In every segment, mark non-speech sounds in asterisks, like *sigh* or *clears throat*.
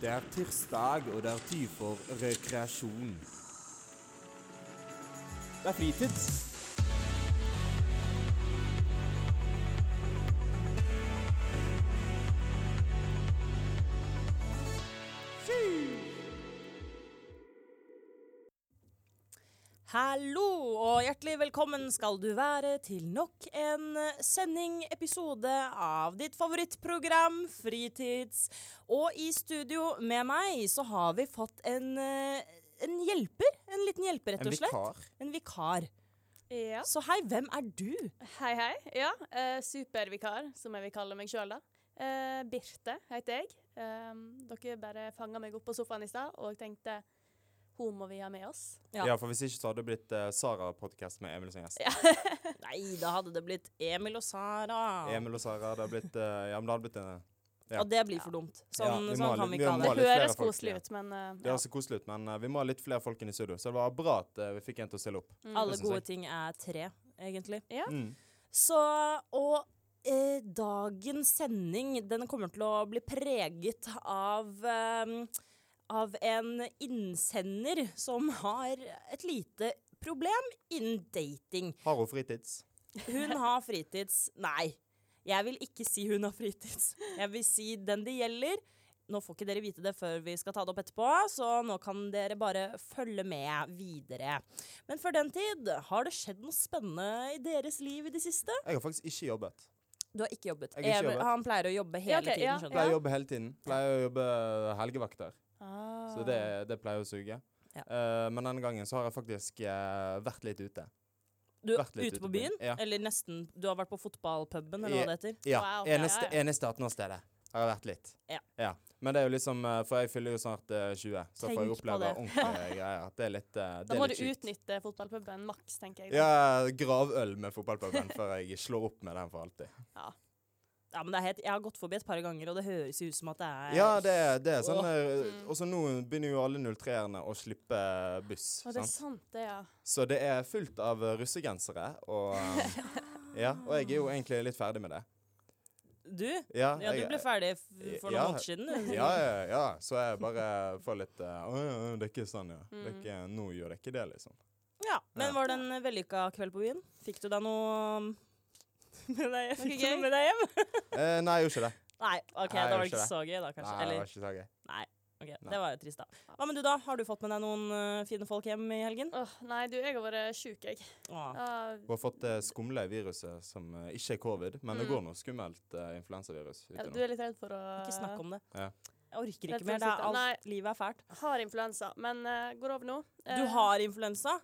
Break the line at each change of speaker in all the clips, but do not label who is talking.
Det er tirsdag, og det er tid for rekreasjon. Det er fritids.
Hallo og hjertelig velkommen skal du være til nok en eh, sending, episode av ditt favorittprogram Fritids. Og i studio med meg så har vi fått en, eh, en hjelper. En liten hjelper, rett
En
og slett.
vikar.
En vikar.
Ja.
Så hei, hvem er du?
Hei, hei. Ja, eh, supervikar, som jeg vil kalle meg sjøl, da. Eh, Birte heter jeg. Ehm, dere bare fanga meg opp på sofaen i stad og tenkte hun må vi ha med oss.
Ja.
Ja. for hvis ikke så hadde det blitt eh, Sara-podkast med Emil som gjest.
Nei, da hadde det blitt Emil og Sara.
Emil og Sara, det hadde blitt eh, Ja, men det hadde blitt en ja.
Og det blir for dumt. Sånn,
Ja, vi må
sånn
ha
kan vi
litt-
ikke
vi må
ha
ha
det.
Det
litt flere
høres
folk,
koselig
ja.
ut, men eh,
Det
ja.
høres så koselig ut, men eh, vi må ha litt flere folk inn i studio, så det var bra at eh, vi fikk en til å stille opp.
Alle
det synes
gode
jeg.
ting er tre, egentlig.
Ja.
Mm.
Så, og eh, dagens sending, den kommer til å bli preget av eh, av en innsender som har et lite problem innen dating.
Har hun fritids?
Hun har fritids. Nei, jeg vil ikke si hun har fritids. Jeg vil si den det gjelder. Nå får ikke dere vite det før vi skal ta det opp etterpå, så nå kan dere bare følge med videre. Men før den tid, har det skjedd noe spennende i deres liv i det siste?
Jeg har faktisk ikke jobbet.
Du har ikke jobbet.
Jeg har ikke
Even-
jobbet.
Han pleier å jobbe hele
Ja, ok,
tiden,
ja,
skjønner
Pleier å jobbe hele tiden. Pleier å jobbe helgevakter.
Ah.
Så det, det pleier å suge.
Ja.
Eh, men denne gangen så har jeg faktisk eh, vært litt ute.
du. Du er
Vært litt
ute på
ute på
byen,
byen,
Eh,
ja.
eller nesten Du har vært på fotballpuben, eller hva det heter.
Ja.
Wow, ja,
eneste
ja, ja.
eneste 18-årsstedet har jeg vært litt.
Ja.
Men det er jo liksom eh, For jeg fyller jo snart eh, 20, så får
Tenk
jeg
på
oppleve
det.
ordentlige greier. Det er litt eh,
Da
det
må
er
du
litt kjipt.
utnytte fotballpuben maks, tenker jeg. da.
Ja, gravøl med fotballpuben før jeg slår opp med den for alltid.
Ja, men det er helt, jeg har gått forbi et par ganger, og det høres jo ut som at det er
Ja, det, er- det er sånn
Åh.
Mm.
eh, Og så nå begynner jo alle 03-erne å slippe buss.
Å, det er
Sant?
sant, det, ja.
Så det er fullt av russegensere, og eh, ja, og jeg er jo egentlig litt ferdig med det.
Du?
Ja,
Ja, du
jeg,
ble ferdig f- for noen
Ja.
måneder siden. du.
ja, ja, ja. Så jeg bare får litt eh, Å ja, ja, det er ikke sånn, ja. Det er ikke, nå gjør det ikke det, liksom.
Ja, men var det en vellykka kveld på byen? Fikk du deg noe um, *laughs* med deg, fikk du
gøy?
noe med deg hjem?
Eh, nei, jeg gjorde ikke det.
Nei, ok,
Nei,
da var det
ikke
ikke så gøy, da,
Nei,
kanskje.
det
Eller,
var ikke så gøy.
ok, Det var jo trist, da. Hva med du, da? Har du fått med deg noen øh, fine folk hjem i helgen?
Åh, nei, du, jeg har vært sjuk, jeg.
Åh.
Ah,
Hun har fått det skumle viruset som eh, ikke er covid, men det går noe skummelt eh, influensavirus ute
du
nå.
er litt redd for å
Ikke snakk om det.
Ja.
Jeg orker
Rett
ikke mer.
og
Det
slett,
er alt,
nei.
Livet er fælt.
Har influensa, men eh, går over nå. Eh,
Du har influensa?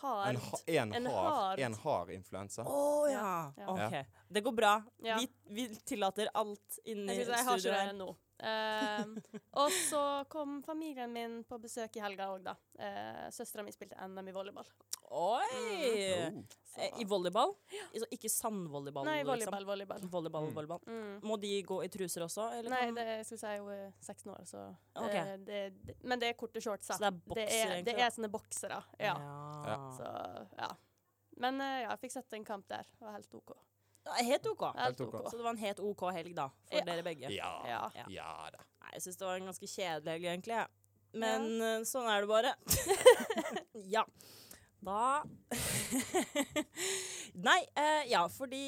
En,
Hard.
ha, en,
En
hard,
hard.
en hard influensa.
Å ja.
Ja.
OK. Det går bra.
Ja.
Vi, vi tillater alt inni
Jeg, synes jeg har
studio
ikke det
her.
nå. Eh, og så kom familien min på besøk i helga òg, da. Uh, Søstera mi spilte NM i volleyball.
Oi!
Oh.
Så-
Eh, I volleyball? Så Ikke sandvolleyball?
Nei,
liksom.
volleyball, volleyball.
Volleyball, volleyball.
Mm.
Må de gå i truser også? Eller
Nei,
kan-
det, jeg skulle si hun er 16 år, så eh,
Ok.
det, det, Men det er korte shorts, da.
Så det er bokser,
er,
egentlig,
det
da?
er sånne boksere, ja.
Ja.
Så, ja. Men eh, ja, jeg fikk sett en kamp der. Det var helt OK.
Ja, Helt OK.
Helt
OK.
OK.
Så det var en helt OK helg, da, for
Ja.
dere begge.
Ja.
Ja.
Ja.
ja da.
Nei, jeg syns det var en ganske kjedelig helg, egentlig. jeg. Men eh, sånn er det bare. ja. Da *laughs* Nei, eh, ja, fordi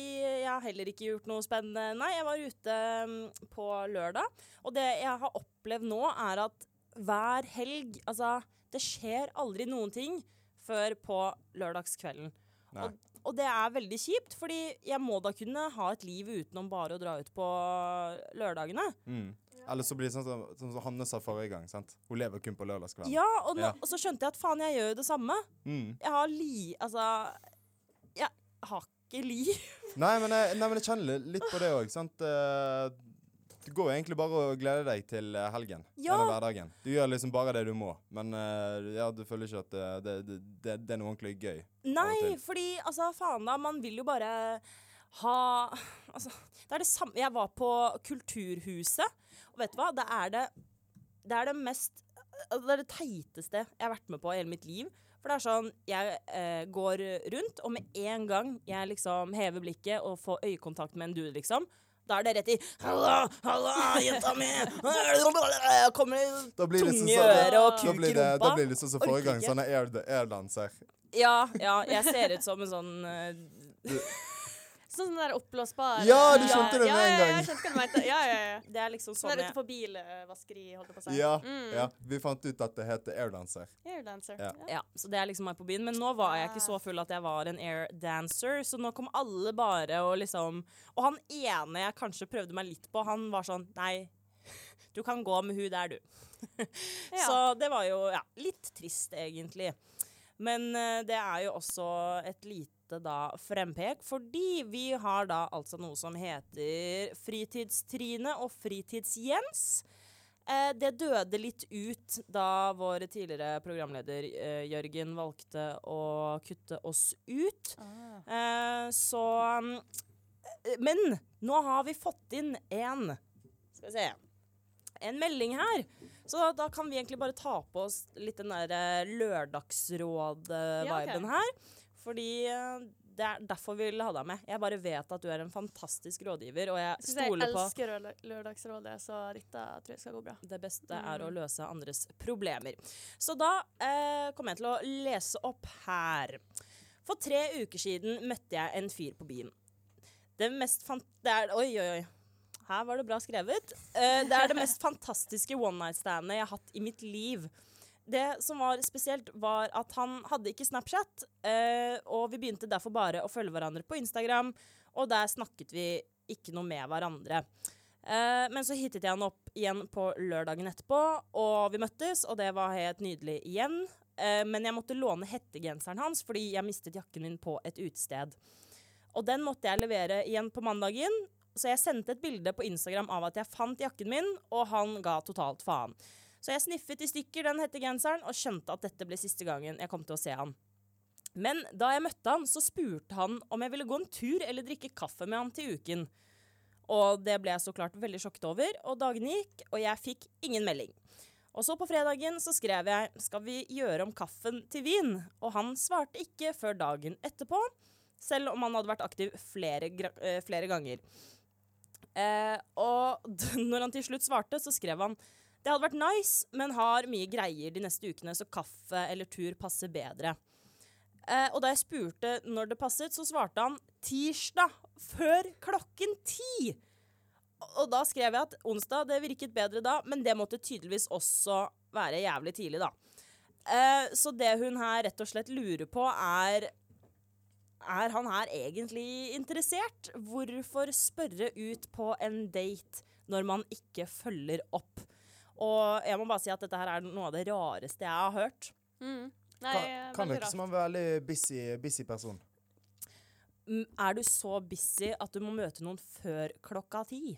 jeg har heller ikke gjort noe spennende. Nei, jeg var ute mm, på lørdag, og det jeg har opplevd nå, er at hver helg Altså, det skjer aldri noen ting før på lørdagskvelden.
Nei.
Og, og det er veldig kjipt, fordi jeg må da kunne ha et liv utenom bare å dra ut på lørdagene.
Mm. Eller så blir det sånn som, sånn som Hanne sa forrige gang. sant? Hun lever kun på lørdagskvelden.
Ja, og, nå,
Ja.
og så skjønte jeg at faen, jeg gjør jo det samme.
Mm.
Jeg har li... Altså Jeg har ikke liv.
Nei, men jeg, nei, men jeg kjenner li- litt på det òg. Det går jo egentlig bare å glede deg til eh, helgen.
Ja.
Eller hverdagen. Du gjør liksom bare det du må. Men eh, ja, du føler ikke at eh, det, det, det, det er noe ordentlig gøy.
Nei,
til.
fordi altså, faen da, man vil jo bare ha Altså, det er det samme Jeg var på Kulturhuset, og vet du hva? Det er det Det er det mest altså, Det er det teiteste jeg har vært med på i hele mitt liv. For det er sånn, jeg eh, går rundt, og med en gang jeg liksom hever blikket og får øyekontakt med en dude, liksom, Da er det rett i Halla, halla, jenta mi! Kommer
Da blir det
Tunge
sånn-
ører og
da
kuk
blir
i
det- Da
rumpa.
blir det sånn som
Orker
forrige gang,
ikke.
sånne air, airdanser.
Ja, ja, jeg ser ut som en sånn eh,
Sånn som den der oppblåsbare
Ja,
du
skjønte det
ja,
med en
Ja, ja,
gang.
jeg skjønte hva du mente. Ja, ja, ja.
Det er liksom
Sånn
sånn
der
jeg
ute på bilvaskeri, holdt jeg på å si.
Ja,
Mm.
ja. Vi fant ut at det heter airdanser.
Airdancer.
Ja.
ja, så det er liksom meg på byen. Men nå var jeg
Ah.
ikke så full at jeg var en air dancer, så nå kom alle bare og liksom Og han ene jeg kanskje prøvde meg litt på, han var sånn Nei, du kan gå med hun der, du.
Ja.
Så det var jo ja, litt trist, egentlig. Men eh, det er jo også et lite da frempek, fordi vi har da altså noe som heter Fritidstrine og Fritids-Jens. Eh, det døde litt ut da vår tidligere programleder eh, Jørgen valgte å kutte oss ut. Eh, så mm, eh, Men nå har vi fått inn en Skal vi se en melding her. Så da, da kan vi egentlig bare ta på oss litt den der eh, lørdagsråd-viben
Ja, ok.
her. Fordi eh, det er derfor vi ville ha deg med. Jeg bare vet at du er en fantastisk rådgiver, og jeg
Skal jeg si, jeg
stoler på
elsker Lø- Lørdagsrådet, så dette tror jeg skal gå bra.
det beste er å løse andres problemer. Så da eh, kommer jeg til å lese opp her. For tre uker siden møtte jeg en fyr på byen. Det mest fan... Det er, oi, oi, oi. Her var det bra skrevet. Eh, det er det mest fantastiske one night-standet jeg har hatt i mitt liv. Det som var spesielt, var at han hadde ikke Snapchat, eh, og vi begynte derfor bare å følge hverandre på Instagram, og der snakket vi ikke noe med hverandre. Eh, men så hittet jeg han opp igjen på lørdagen etterpå, og vi møttes, og det var helt nydelig igjen. Eh, men jeg måtte låne hettegenseren hans fordi jeg mistet jakken min på et utested. Og den måtte jeg levere igjen på mandagen, så jeg sendte et bilde på Instagram av at jeg fant jakken min, og han ga totalt faen. Så jeg sniffet i stykker den hettegenseren og skjønte at dette ble siste gangen jeg kom til å se han. Men da jeg møtte han, så spurte han om jeg ville gå en tur eller drikke kaffe med han til uken. Og det ble jeg så klart veldig sjokket over, og dagene gikk, og jeg fikk ingen melding. Og så på fredagen så skrev jeg 'Skal vi gjøre om kaffen til vin?' Og han svarte ikke før dagen etterpå, selv om han hadde vært aktiv flere, gra- eh, flere ganger. Eh, og d- *laughs* når han til slutt svarte, så skrev han 'Det hadde vært nice, men har mye greier de neste ukene, så kaffe eller tur passer bedre'. Eh, og da jeg spurte når det passet, så svarte han 'tirsdag før klokken ti'. Og da skrev jeg at onsdag det virket bedre da, men det måtte tydeligvis også være jævlig tidlig, da. Eh, så det hun her rett og slett lurer på, er Er han her egentlig interessert? Hvorfor spørre ut på en date når man ikke følger opp? Og jeg må bare si at dette her er noe av det rareste jeg har hørt.
Mm. Nei,
Kan, kan
veldig
virke
rart.
som en veldig busy, busy person.
Mm, Er du så busy at du må møte noen før klokka ti?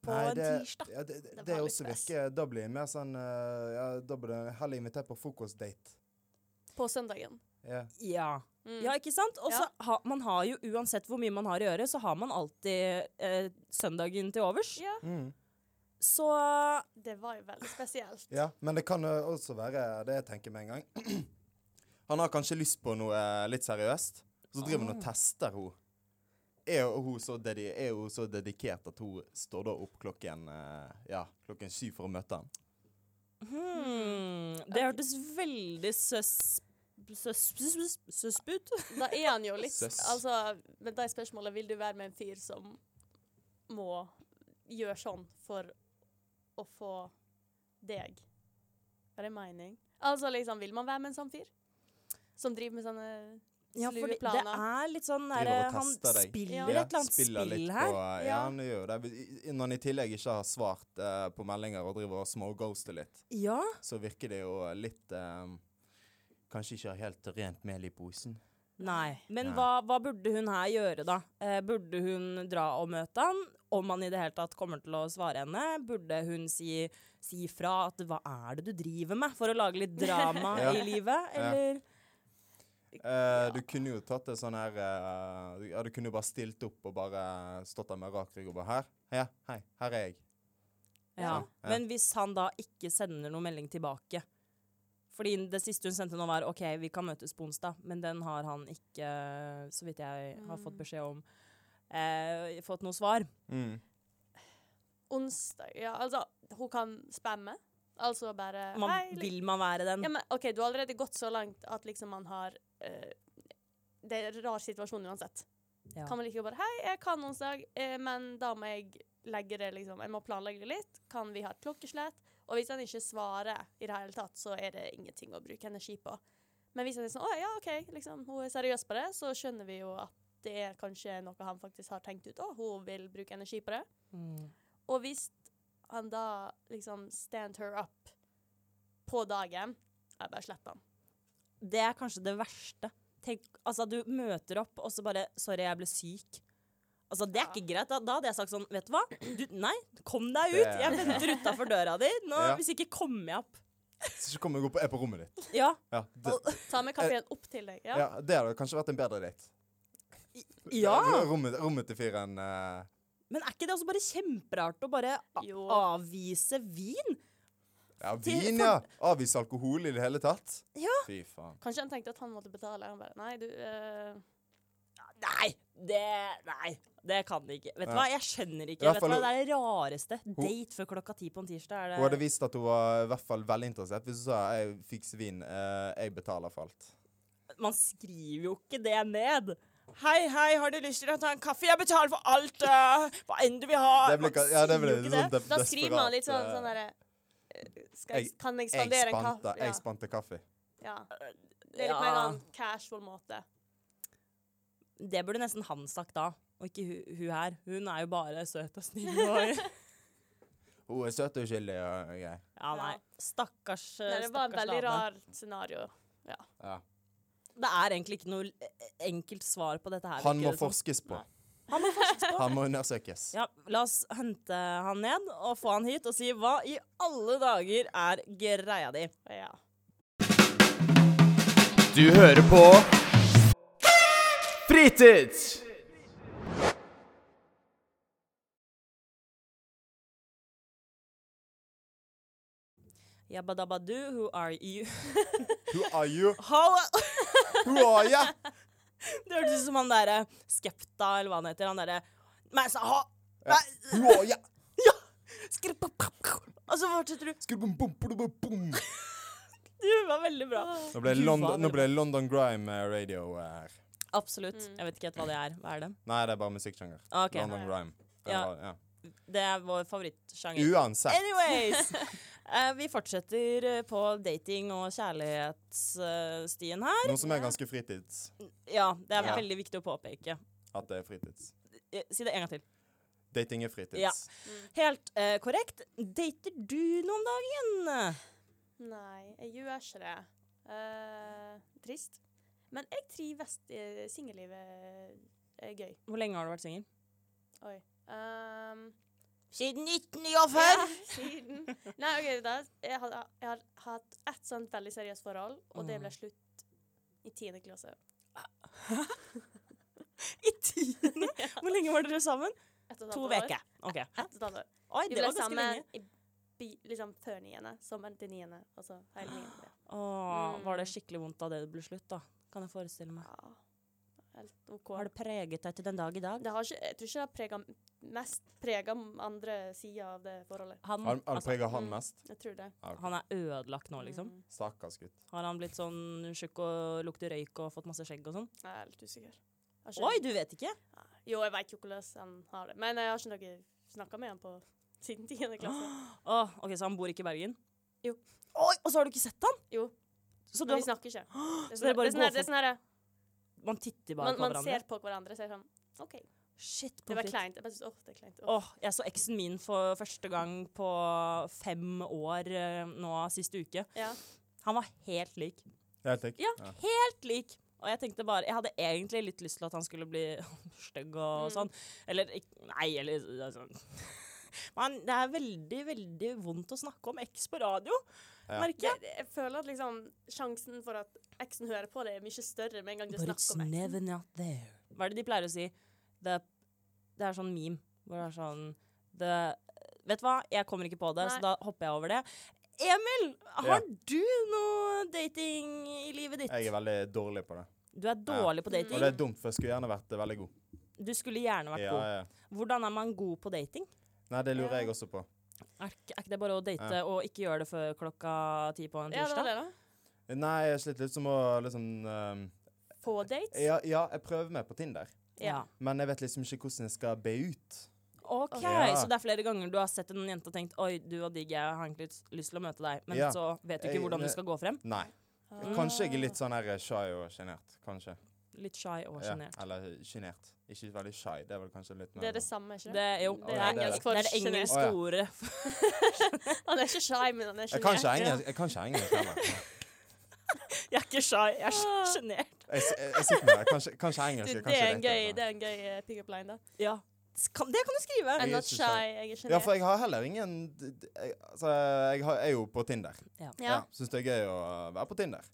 På
Nei,
en tirsdag?
Ja, det, det,
var litt
også
stress.
virker Da blir jeg mer sånn eh, ja, Da blir jeg heller invitert på frokostdate.
På søndagen.
Ja.
Ja.
Mm.
Ja, ikke sant? Og så
Ja.
ha, man har jo, uansett hvor mye man har å gjøre, så har man alltid eh, søndagen til overs.
Ja,
Mm.
Så
det var jo veldig spesielt.
ja. Men det kan eh, også være det jeg tenker med en gang. *clears throat* Han har kanskje lyst på noe eh, litt seriøst, så driver
Ah.
han og tester henne. Er hun, så dedi er hun så dedikert at hun står da opp klokken eh, Ja, klokken syv for å møte han?
hmm, Det hørtes veldig søs... søs- søs- Søsp ut.
Da er han jo litt
Søs.
Altså, med de spørsmålene vil du være med en fyr som må gjøre sånn for å få deg Hva er det mening? Altså liksom, vil man være med en sånn fyr? Som driver med sånne
Ja,
slue
fordi det
planer?
er litt sånn der,
Driver og
Han
tester deg.
spiller
Ja.
et eller annet
spiller
spill
litt
her.
På, ja,
Ja.
han gjør det. I- Når han i tillegg ikke har svart eh, på meldinger og driver og småghoster litt,
Ja.
så virker det jo litt eh, Kanskje ikke har helt rent mel i posen.
Nei. Men
Nei.
hva, hva burde hun her gjøre, da? Eh, burde hun dra og møte han? Om han i det hele tatt kommer til å svare henne? Burde hun si, si fra at 'hva er det du driver med', for å lage litt
*laughs*
drama
Ja.
i livet?
Ja.
Eller
Eh, Du kunne jo tatt det sånn her eh, Ja, du kunne jo bare stilt opp og bare stått der med rak rygg og bare Her. Ja, hei. Her er jeg.
ja.
Ja.
Ja.
Men hvis han da ikke sender noen melding tilbake Fordi det siste hun sendte nå, var 'OK, vi kan møtes på onsdag', men den har han
Mm.
ikke, så vidt jeg har fått beskjed om, eh, fått noe svar.
Mm.
Onsdag Ja, altså, hun kan spamme. Altså bare
Man,
hei, li-
vil man være den?
ja, men, OK, du har allerede gått så langt at liksom man har eh, Det er en rar situasjon uansett.
Ja.
Kan man like godt bare Hei, jeg kan onsdag, eh, men da må jeg legge det liksom Jeg må planlegge det litt. Kan vi ha et klokkeslett? Og hvis han ikke svarer i det hele tatt, så er det ingenting å bruke energi på. Men hvis han er sånn Å ja, OK, liksom, hun er seriøs på det, så skjønner vi jo at det er kanskje noe han faktisk har tenkt ut, og hun vil bruke energi på det.
Mm.
Og hvis han da liksom stand her up på dagen, jeg bare slipper han.
Det er kanskje det verste. Tenk, altså, du møter opp, og så bare 'Sorry, jeg ble syk'. Altså, Det er
Ja.
ikke greit. Da, da hadde jeg sagt sånn 'Vet du hva? Du, nei, kom deg
Det
ut!
er-
Jeg venter utafor døra di. Nå,
Ja.
Hvis ikke kommer jeg opp.
Så ikke kommer jeg opp, er på rommet ditt.
Ja,
Ja, det, Eh,
Ta med kaffen opp til deg. Ja.
ja, det hadde kanskje vært en bedre date.
ja.
Rommet, rommet til fyren eh,
Men er ikke det også bare kjemperart å bare a-
Jo.
avvise vin?
Ja,
Til-
vin, ja. Avvise alkohol i det hele tatt.
Ja.
Fy faen.
Kanskje han tenkte at han måtte betale. Han bare Nei, du eh,
Nei! Det Nei. Det kan de ikke. Vet du
Ja.
hva, jeg skjønner ikke.
I hvert
Vet du hva,
fall-
Det er det rareste. Date før klokka ti på en tirsdag.
Hun
Er
hadde
det
visst at hun var i hvert fall veldig interessert hvis hun sa jeg fikser vin, eh, jeg betaler for alt.
Man skriver jo ikke det ned. Hei, hei, har du lyst til å ta en kaffe? Jeg betaler for alt! øh, hva enn du vil ha!
Det ble,
Man
ka- ja, det
sier
ble
jo ikke
sånn
det.
de,
Da skriver man litt sånn,
desperat,
sånn
eh,
derre eh, skal jeg,
Jeg-
Kan jeg
jeg
spandere en
spante,
kaffe? Ja.
jeg spante kaffe.
ja. Det er litt mer
Ja.
en casual måte.
Det burde nesten han sagt da, og ikke hun, hun her. Hun er jo bare søt og snill. Og, *laughs*
Hun er søt og uskyldig og greier.
ja, nei. Stakkars, øh,
Nei, det var et
stakkars
veldig
dame.
rart scenario.
Ja.
Det er egentlig ikke noe eh, enkelt svar på dette her.
Han
virker
må
det som.
forskes på.
Nei. Han må forskes på.
Han må undersøkes.
Ja, la oss hente han ned og få han hit og si hva i alle dager er greia di.
Ja.
Du hører på Fritids!
Jabba dabba do, who are you? *laughs*
Who are you?
How
Who are you?
Det hørtes ut som han derre Skepta, eller hva han heter. Han derre Men så ha
Ja. Who are you?
skripp, pop, pop, pop. Og så fortsetter du.
Skru bum, bum, bum, bum, bum.
Du var veldig bra.
Nå ble
Gud,
London,
faen,
nå ble London Grime eh, radio her.
Absolutt. Jeg vet ikke helt hva det er. Hva er det? Ah,
Nei, det er bare musikksjanger.
Ok.
London Grime.
Ja.
Eller, ja.
Det er vår favorittsjanger.
Uansett.
Anyways. eh, vi fortsetter eh, på dating- og kjærlighetsstien her.
Noe som er ganske fritids.
Ja, det er
Ja.
veldig viktig å påpeke.
At det er fritids.
Eh, Si det en gang til.
Dating er fritids.
Ja. Helt eh, korrekt. Dater du noe om dagen?
Nei, jeg gjør ikke det. Eh, trist. Men jeg trives i singellivet. er gøy.
Hvor lenge har du vært singel?
Oi. Ehm,
Siden
ja,
1949!
*laughs* siden Nei, OK, da, jeg, har, jeg har hatt ett sånt veldig seriøst forhold, og
Mm.
det ble slutt i tiende klasse.
*laughs* I
*laughs*
tiende? Hvor lenge var dere sammen?
Ett og et halvt
To
år.
uker. OK.
Ett og et halvt år.
Oi,
Vi
det
ble
var ganske
sammen
lenge.
i, bi- liksom før niende, sommeren til niende, altså hele niende. ja.
Åh,
Mm.
var det skikkelig vondt av det det ble slutt, da? Kan jeg forestille meg.
Ja. Helt OK.
Ah. Har det preget deg til den dag i dag?
Det har ikke, jeg tror ikke det har prega mest prega andre sida av det forholdet.
Han,
Har, har
altså,
prega han
Mm.
mest?
Jeg tror det.
han er ødelagt nå, liksom.
Mm.
Stakkars gutt.
Har han blitt sånn tjukk og lukter røyk og fått masse skjegg og sånn?
Jeg er litt usikker. Jeg har ikke-
Oi, du vet ikke?
Jo, jeg veit jo hvordan han har det, men jeg har ikke noe snakka med han på siden
*gasps*
10. klasse.
Åh, ok, Så han bor ikke i Bergen?
Jo.
Oi, og så har du ikke sett han?
Jo.
Så du
Men vi
har,
snakker ikke. Det
*gasps*
er
Så dere
sånn
bare
det er sånn her-
går
det er sånn her-
man titter bare
man,
på
man
hverandre?
ser på hverandre og sier sånn OK.
Shit,
Det
pommes
var
frites.
kleint. Jeg bare synes, åh, det er kleint. Åh.
Åh, jeg så eksen min for første gang på fem år eh, nå sist uke.
Ja.
Han var helt lik.
Helt lik.
Ja, helt lik. Og jeg tenkte bare, jeg hadde egentlig litt lyst til at han skulle bli *laughs* stygg og
Mm.
sånn. Eller ikk- Nei, eller altså. Men det er veldig, veldig vondt å snakke om eks på radio,
Ja.
merker jeg.
Det- det- Jeg føler at liksom sjansen for at eksen hører på det, er mye større med en gang du
But
snakker
it's
om eksen.
never not there. Hva er det de pleier å si? The, det er sånn meme hvor det er sånn the, Vet du hva, jeg kommer ikke på det, så
Nei.
da hopper jeg over det. Emil, har
Ja.
du noe dating i livet ditt?
Jeg er veldig dårlig på det.
Du er dårlig
Mm.
på
Og
dating.
det er dumt, for jeg skulle gjerne vært eh, veldig god.
Du skulle gjerne Mm. vært
Ja, ja.
god. Hvordan er man god på dating?
Nei, det lurer
Ja.
jeg også på.
Er, ikke- er ikke det bare å date
Ja.
og ikke gjøre det før klokka ti på en
Ja, det
tirsdag?
var det, da.
Nei, jeg slitt litt som å liksom ehm,
Få dates?
ja, ja, jeg prøver meg på Tinder,
Ja.
men jeg vet liksom ikke hvordan jeg skal be ut.
OK,
Ja.
så det er flere ganger du har sett en jente og tenkt Oi, du var digg, jeg har egentlig lyst- lyst til å møte deg, men
Ja.
så vet du
Jeg-
ikke hvordan du
det-
skal gå frem.
Nei.
Ah.
Kanskje jeg er litt sånn her shy og sjenert. Kanskje.
Litt shy og
Ja,
sjenert.
eller sjenert. Ikke veldig shy, det er vel kanskje litt mer sånn.
Det er det samme, ikke
Det, jo,
Det
det
er
er
det.
engelsk, det er det
Sjenert.
engelske
Å, ja.
ordet. *laughs*
Han er ikke shy, men han er
Jeg kan altså, ikke
sjenert.
engelsk. Jeg kan ikke engelsk heller.
Jeg er ikke shy, jeg er
Ah.
sjenert.
Jeg, s- jeg, jeg sitter med det. Kanskje, kanskje engelsk.
Du,
er
det
kanskje
er en gøy,
rett,
det er en gøy eh, pick-up line, da.
Ja. S- Kan, det kan du skrive.
Jeg
I'm
er
not
ikke
shy,
shy.
jeg er
da. Ja, for
sjenert.
jeg har heller ingen d- d- jeg, Altså, jeg har, er jo på Tinder. Ja.
Ja.
Syns det er gøy å være på Tinder.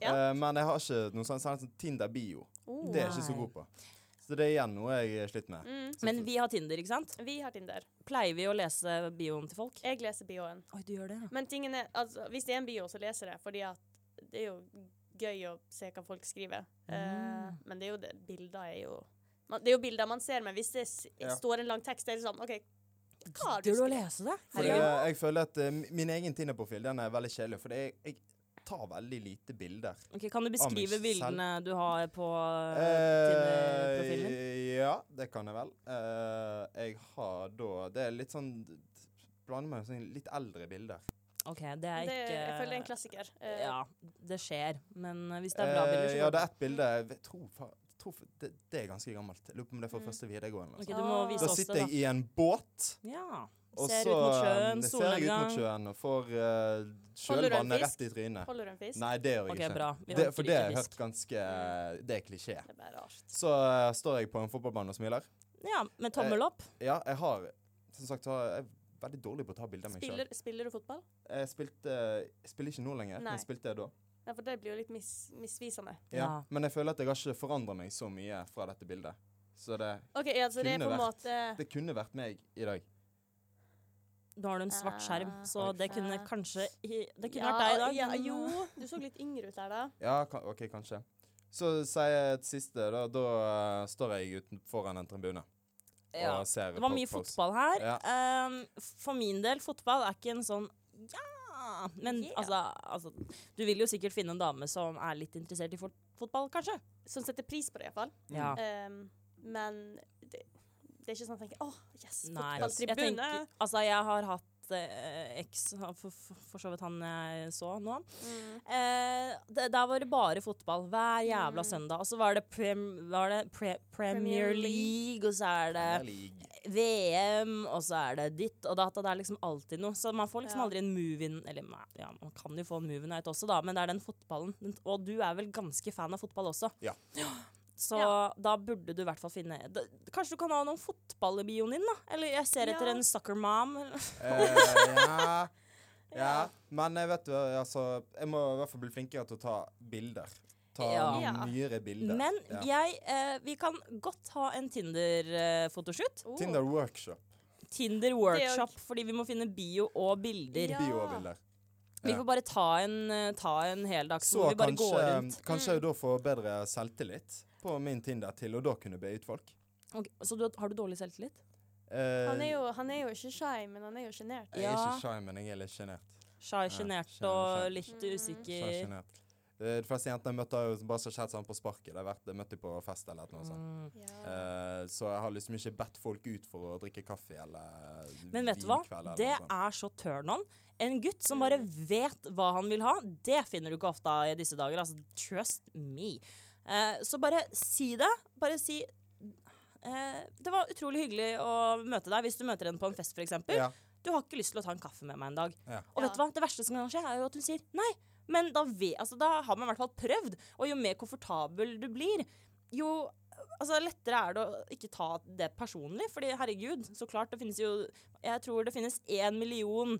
Ja.
Eh, men jeg har ikke noe sånn, sånn Tinder-bio.
Oh.
Det er jeg ikke så god på. Så det er igjen noe jeg er slitt med.
Mm.
Men vi har Tinder, ikke sant?
Vi har Tinder.
Pleier vi å lese bioen til folk?
Jeg leser bioen.
Oi, du gjør det, ja.
Men tingen er, altså, hvis det er en bio, så leser jeg, fordi at det er jo gøy å se hva folk skriver. Eh,
Mm.
men det er jo det, bilder er jo man, Det er jo bilder man ser, men hvis det s
Ja.
står en lang tekst, det er det sånn OK, hva har du
Gidder du å
skrevet?
lese det?
For det-
Herregud.
jeg føler at eh, min egen Tinder-profil den er veldig kjedelig, for det er, jeg tar veldig lite bilder.
Ok, kan du beskrive
Amish
bildene du har på uh, Tinder-profilen din?
Eh, ja, det kan jeg vel. Eh, jeg har da Det er litt sånn Blander meg med sånn litt eldre bilder.
OK, det er
Det,
ikke
jeg føler det er en klassiker. Eh,
Ja, det skjer. Men eh, hvis det er bra bilder,
Eh,
så
ja,
går
det er
det.
ett bilde jeg vet- tror, fa- tror fa- det, det er ganske gammelt. Jeg lurer på om det er fra første videregående.
Mm. Ok,
Altså.
du må
Ah.
vise
Da
oss
sitter
det,
jeg i en båt.
da. Ja.
Og
Ser
så
ut mot
eh,
sjøen,
ser jeg ut mot
solnedgang.
sjøen og får uh,
Holder du en
sjølvannet
fisk?
rett i trynet.
Holder du en fisk?
Nei, det gjør jeg
Ok,
ikke.
bra. Vi
Det,
orker
for det
ikke
har jeg
fisk.
hørt ganske
Mm.
eh, Det er klisjé.
Det er bare rart.
Så eh, står jeg på en fotballbane og smiler.
ja, med
Eh,
tommel opp.
Ja, jeg har Som sagt, så har jeg jeg er veldig dårlig på å ta bilder av meg sjøl.
Spiller, spiller du fotball?
Jeg spilte jeg spiller ikke nå lenger,
Nei.
men spilte jeg da.
Nei, for det blir jo litt mis misvisende.
Ja.
Ja.
Men jeg føler at jeg har ikke forandra meg så mye fra dette bildet. Så det,
OK, ja, så det er
Kunne
på en
vært.
måte
det kunne vært meg i dag.
Nå har du en svart skjerm,
Ah.
så det kunne
Ah.
kanskje i- Det kunne vært deg i dag.
Ja,
men- eh,
jo, du så litt yngre ut der, da.
Ja, ka OK, kanskje. Så sier jeg et siste. Da, da eh, står jeg uten, foran en tribune
Ja.
og ser
Det var
på
mye
post.
fotball her.
Ja.
Ehm, for min del, fotball er ikke en sånn ja Men
Yeah.
altså, altså Du vil jo sikkert finne en dame som er litt interessert i fot fotball, kanskje?
Som setter pris på det, iallfall.
Mm.
Ja.
Um, men det, det er ikke sånn at jeg tenker åh, yes,
Nei. Jeg
fotballtribune.
tenker, altså, jeg har hatt eh, eks, for, for- for så vidt han jeg så nå.
Mm.
Eh, det, der var det bare fotball hver jævla søndag. Og så var det, prem, var det pre, Premier
Premier
League, og så er det
League.
VM, og så er det ditt og datt, og det er liksom alltid noe. Så man får liksom
Ja.
aldri en move-in Eller nei, ja, man kan jo få en move-in-out også, da, men det er den fotballen. Den- Og du er vel ganske fan av fotball også?
Ja.
Så
Ja.
da burde du i hvert fall finne da, Kanskje du kan ha noen fotball i bioen din, da? Eller jeg ser etter
Ja.
en soccer mom. eller-
Eh,
*laughs*
ja. ja. Men jeg vet du, altså, jeg må i hvert fall bli flinkere til å ta bilder. Ta
Ja.
nyere bilder.
Men
ja.
jeg eh, Vi kan godt ha en Tinder-fotoshoot.
Oh.
Tinder workshop.
Tinder-workshop, fordi vi må finne bio og bilder.
Ja.
Biobilder.
Vi
Ja.
får bare ta en, eh, ta en heldags
Så
hvor vi bare går
kanskje, eh,
rundt. Mm.
kanskje jeg da får bedre selvtillit på min Tinder til å da kunne be ut folk.
Ok, så du, har du dårlig selvtillit?
Eh,
Han, er jo, han er jo ikke shy, men han er jo sjenert.
Jeg er
Ja.
ikke shy, men jeg er litt sjenert.
Shy,
shy,
sjenert
shy.
og litt
Mm.
Shy,
usikker.
sjenert. Eh, De fleste jentene jeg møtte, har jo bare så kjent sånn på sparket. De har vært, jeg møtte de på fest eller noe sånt.
Mm.
Ja.
Eh, så jeg har liksom ikke bedt folk ut for å drikke kaffe eller
Men vet du hva?
vinkveld eller
Det
noe sånt.
er så turn on. En gutt som bare vet hva han vil ha, det finner du ikke ofte av i disse dager. Altså, trust me. Eh, så bare si det. Bare si eh, Det var utrolig hyggelig å møte deg. Hvis du møter en på en fest, f.eks.
Ja.
Du har ikke lyst til å ta en kaffe med meg en dag.
Ja.
Og vet du hva? Det verste som kan skje, er jo at hun sier nei. Men da, ve- altså, da har man i hvert fall prøvd. Og jo mer komfortabel du blir, jo altså, lettere er det å ikke ta det personlig. Fordi herregud, så klart det finnes jo Jeg tror det finnes én million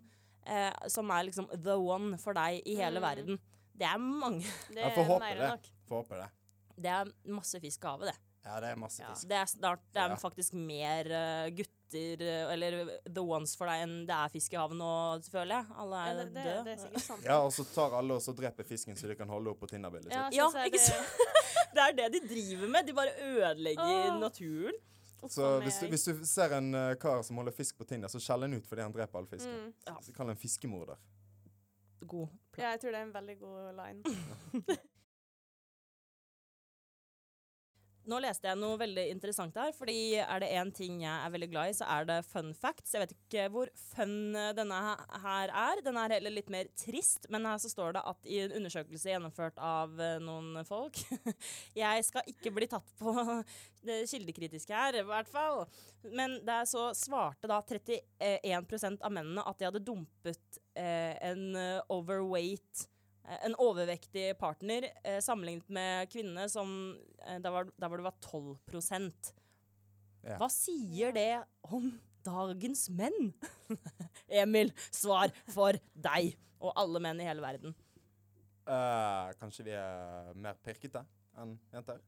eh, som er liksom the one for deg i
Mm.
hele verden. Det er mange. *laughs*
Det
Jeg får
er
håpe
mer
det.
enn nok.
Får håpe det.
Det er masse fisk å hava, det.
Ja, det er masse
Ja.
fisk.
Det er, snart, det er
Ja.
faktisk mer eh, gutter eh, eller the ones for deg enn det er fisk i havet nå, føler jeg. Alle
Ja,
er
det, det,
døde.
det er sikkert sant.
Ja, og så tar alle og så dreper fisken så de kan holde opp på Tinder-bildet sitt.
jeg
Ja,
synes jeg
ikke
det-
Det er det de driver med. De bare ødelegger
Åh.
naturen.
*laughs* Så
Sånn
hvis du, hvis du ser en eh, kar som holder fisk på Tinder, så skjell han ut fordi han dreper all fisken.
mm.
Ja.
Så kall han fiskemorder.
God plan.
Ja, jeg tror det er en veldig god line.
*laughs*
Nå leste jeg noe veldig interessant her, fordi er det én ting jeg er veldig glad i, så er det fun facts. Jeg vet ikke hvor fun eh, denne he- her er. Den er heller litt mer trist, men her så står det at i en undersøkelse gjennomført av eh, noen folk *laughs* Jeg skal ikke bli tatt på *laughs* det kildekritiske her, i hvert fall. Men der så svarte da 31 av mennene at de hadde dumpet eh, en eh, overweight eh, en overvektig partner eh, sammenlignet med kvinnene som eh, der, var, der hvor det var 12
Ja.
Hva sier det om dagens menn? *laughs* Emil, svar for deg og alle menn i hele verden.
Eh, kanskje vi er mer pirkete enn jenter?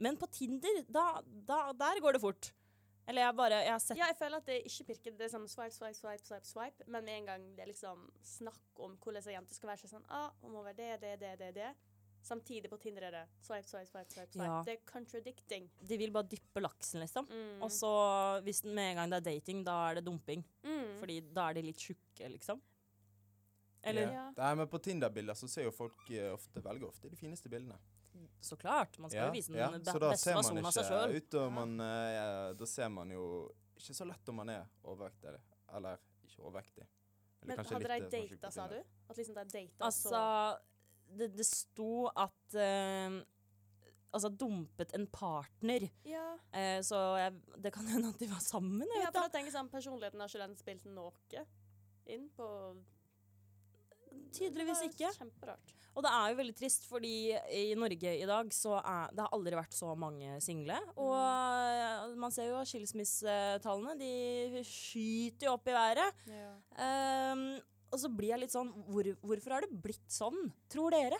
Men på Tinder, da, da, der går det fort. Eller jeg bare Jeg har sett
Ja, jeg føler at det ikke pirker. Det er sånn swipe, swipe, swipe, swipe, swipe. Men med en gang det er liksom snakk om hvordan ei jente skal være så er det sånn ah, hun må være det, det, det, det, det. Samtidig på Tinder er det swipe, swipe, swipe, swipe. swipe.
Ja.
Det er contradicting.
De vil bare dyppe laksen, liksom.
Mm.
Og så, hvis den med en gang det er dating, da er det dumping.
mm.
Fordi da er de litt tjukke, liksom. Eller
Ja.
Nei, men på Tinder-bilder så ser jo folk eh, ofte, velger ofte de fineste bildene.
Så klart. Man skal jo vise den be-
Så da
beste
ser man
versjonen av
ikke
seg sjøl.
ut, og man, eh, da ser man jo ikke så lett om man er overvektig. Eller ikke overvektig. Eller
Men
kanskje
hadde de
litt, eh,
data,
småtjukk
sa
på
du?
Tinder.
At liksom de data,
Altså, det, det sto at eh, Altså dumpet en partner.
så Ja.
Eh, så jeg, det kan hende at de var sammen. Jeg
Ja,
vet
for
da.
jeg tenker sånn, Personligheten har ikke den spilt noe inn på
Tydeligvis
Det
ikke.
var Kjemperart.
Og det er jo veldig trist, fordi i Norge i dag så er det har aldri vært så mange single. Og eh, man ser jo skilsmissetallene. De skyter jo opp i været. Ehm, og så blir jeg litt sånn hvor, Hvorfor har det blitt sånn, tror dere?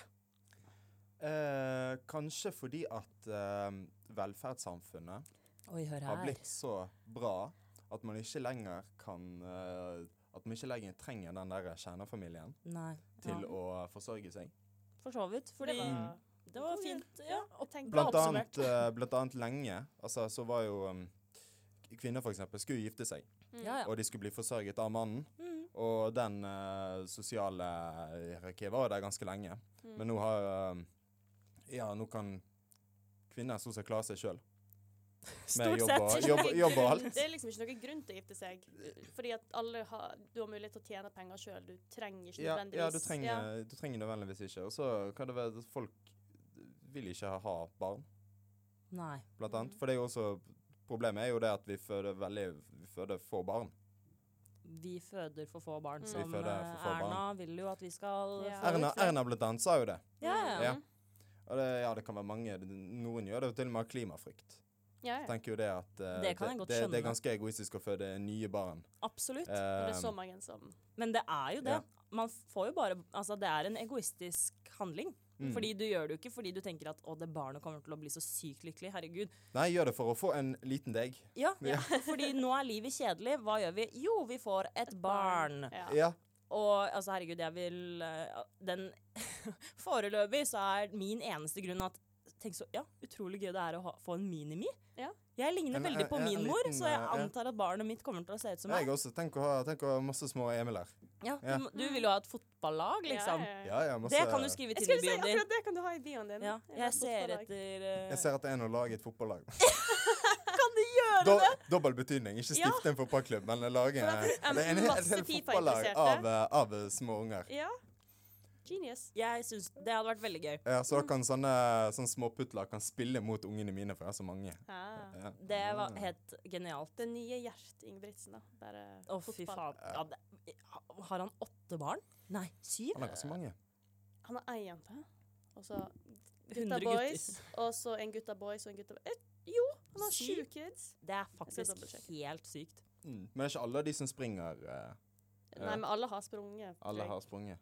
Eh, kanskje fordi at eh, velferdssamfunnet
Oi, hør
har blitt så bra at man ikke lenger kan eh, At man ikke lenger trenger den der kjernefamilien
Nei.
til
Ja,
å forsørge seg.
for så vidt. Fordi
det var
Det var
God
fint.
Mm. Ja,
Ja.
jeg tenkte
Blant
også-
annet, eh, blant annet lenge. Altså, så var jo um, Kvinner, for eksempel, skulle gifte seg,
Mm.
ja, ja.
og de skulle bli forsørget av mannen.
Mm.
Og den eh, sosiale hierarkiet var jo der ganske lenge.
Mm.
Men nå har eh, Ja, nå kan kvinner stort sett klare seg sjøl.
Stort
jobb og-
sett.
jobb- jobb og alt.
Det er liksom ikke noen grunn til å gifte seg. Fordi at alle har, du har mulighet til å tjene penger sjøl. Du trenger ikke
Ja,
nødvendigvis
ja du, trenger, du trenger nødvendigvis ikke. Og så kan det være at folk vil ikke ha barn,
Nei.
blant annet.
Mhm.
For det er jo også Problemet er jo det at vi føder veldig Vi føder få barn.
Vi føder for få barn,
Mm.
som
Vi føder for få
eh, Erna vil jo at vi skal
Ja.
føde
Erna,
flere.
Erna blant annet sa jo det.
Ja, ja. ja.
Ja. Og det, ja, det kan være mange. Noen gjør det jo til og med av klimafrykt.
Ja, ja.
Tenker jo det at eh,
Det kan jeg
det,
godt
det
skjønne.
er ganske egoistisk å føde nye barn.
Absolutt.
Og
Eh,
det er så mange som
Men det er jo
Ja.
det. Man får jo bare Altså, det er en egoistisk handling.
Mm.
Fordi du gjør det jo ikke fordi du tenker at 'å, det barnet kommer til å bli så sykt lykkelig', herregud.
Nei, gjør det for å få en liten deg.
Ja,
Ja.
*laughs* fordi nå er livet kjedelig. Hva gjør vi? Jo, vi får et barn.
Ja.
Ja.
Og altså, herregud, jeg vil eh, den, *laughs* Foreløpig så er min eneste grunn at Tenk så ja, utrolig gøy det er å ha, få en minimi.
Ja.
Jeg ligner
En-
veldig på
en- en
min mor,
liten,
så jeg
eh, ja.
antar at barnet mitt kommer til å se ut som meg.
Jeg også. Tenk å ha, tenk å ha masse små Emil her.
Ja, du,
Ja.
må- du vil jo ha et fotballag, liksom.
Ja, ja, ja.
Ja, ja, masse
Det kan du skrive i
Jeg skulle si
tidligbioen din.
akkurat det kan du ha i bioen din.
Ja,
En
jeg ser
fotballag.
etter eh,
Jeg ser at det er en å lage et fotballag.
Kan du gjøre
Do dobbel betydning. Ikke
Ja.
stifte en fotballklubb, men lage
For at-
det er en, hel- et
masse
helt
FIFA
fotballag
interesserte.
av, eh, av eh, små unger.
Ja. Genius.
Jeg synes Det hadde vært veldig gøy.
Ja, så da kan sånne, sånne småputtlag kan spille mot ungene mine, for jeg har så mange.
Ah.
Ja.
Det var helt genialt.
Det nye Gjert Ingebrigtsen, da. eh, Bare
Å, fy faen. Ja, det, har han åtte barn? Nei, syv?
Han har så mange.
Han har ei jente, og så gutta
100
boys,
gutter.
og så en gutta boys og en gutta eh, Jo, han har sju
Sykt.
kids.
Det er
skal
faktisk
dobbeltsjekke.
helt sykt.
Mm. Men det er ikke alle de som springer. eh,
Nei, men alle har sprunget. tror
Alle
jeg.
har sprunget.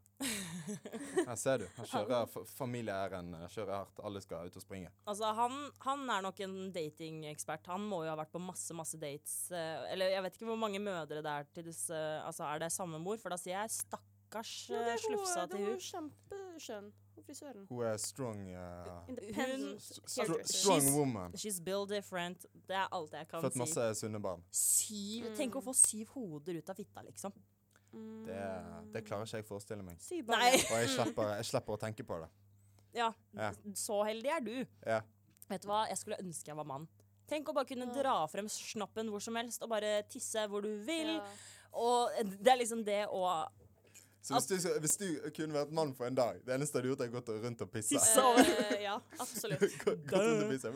Her ser du. Her kjører fa- familieæren eh, kjører hardt. Alle skal ut og springe.
Altså, han, han er nok en datingekspert. Han må jo ha vært på masse masse dates. eh, Eller jeg vet ikke hvor mange mødre det er til disse Altså, er det samme mor? For da sier jeg stakkars
Ja,
eh,
det er hun,
slufsa
det
til
var
hun.
jo kjempeskjønn. og frisøren.
Hun er strong eh,
Independent
stro
hairdresser.
Strong woman.
She's built different. Det er alt jeg kan
Født
si.
masse sunne barn.
Syv,
Mm.
Tenk å få syv hoder ut av fitta, liksom.
Det, det klarer ikke jeg å forestille meg.
Sy bare.
*laughs* Nei!
Og jeg slipper, jeg slipper å tenke på det.
Ja,
Ja.
så heldig er du.
Ja.
Vet du hva, jeg skulle ønske jeg var mann. Tenk å bare kunne dra frem snappen hvor som helst og bare tisse hvor du vil.
Ja.
Og det er liksom det å
Så hvis du, hvis du kunne vært mann for en dag Det eneste du hadde gjort, er gått rundt og pissa.
Tisse.
Så, eh, ja, absolutt.
Gå- gått rundt og pissa.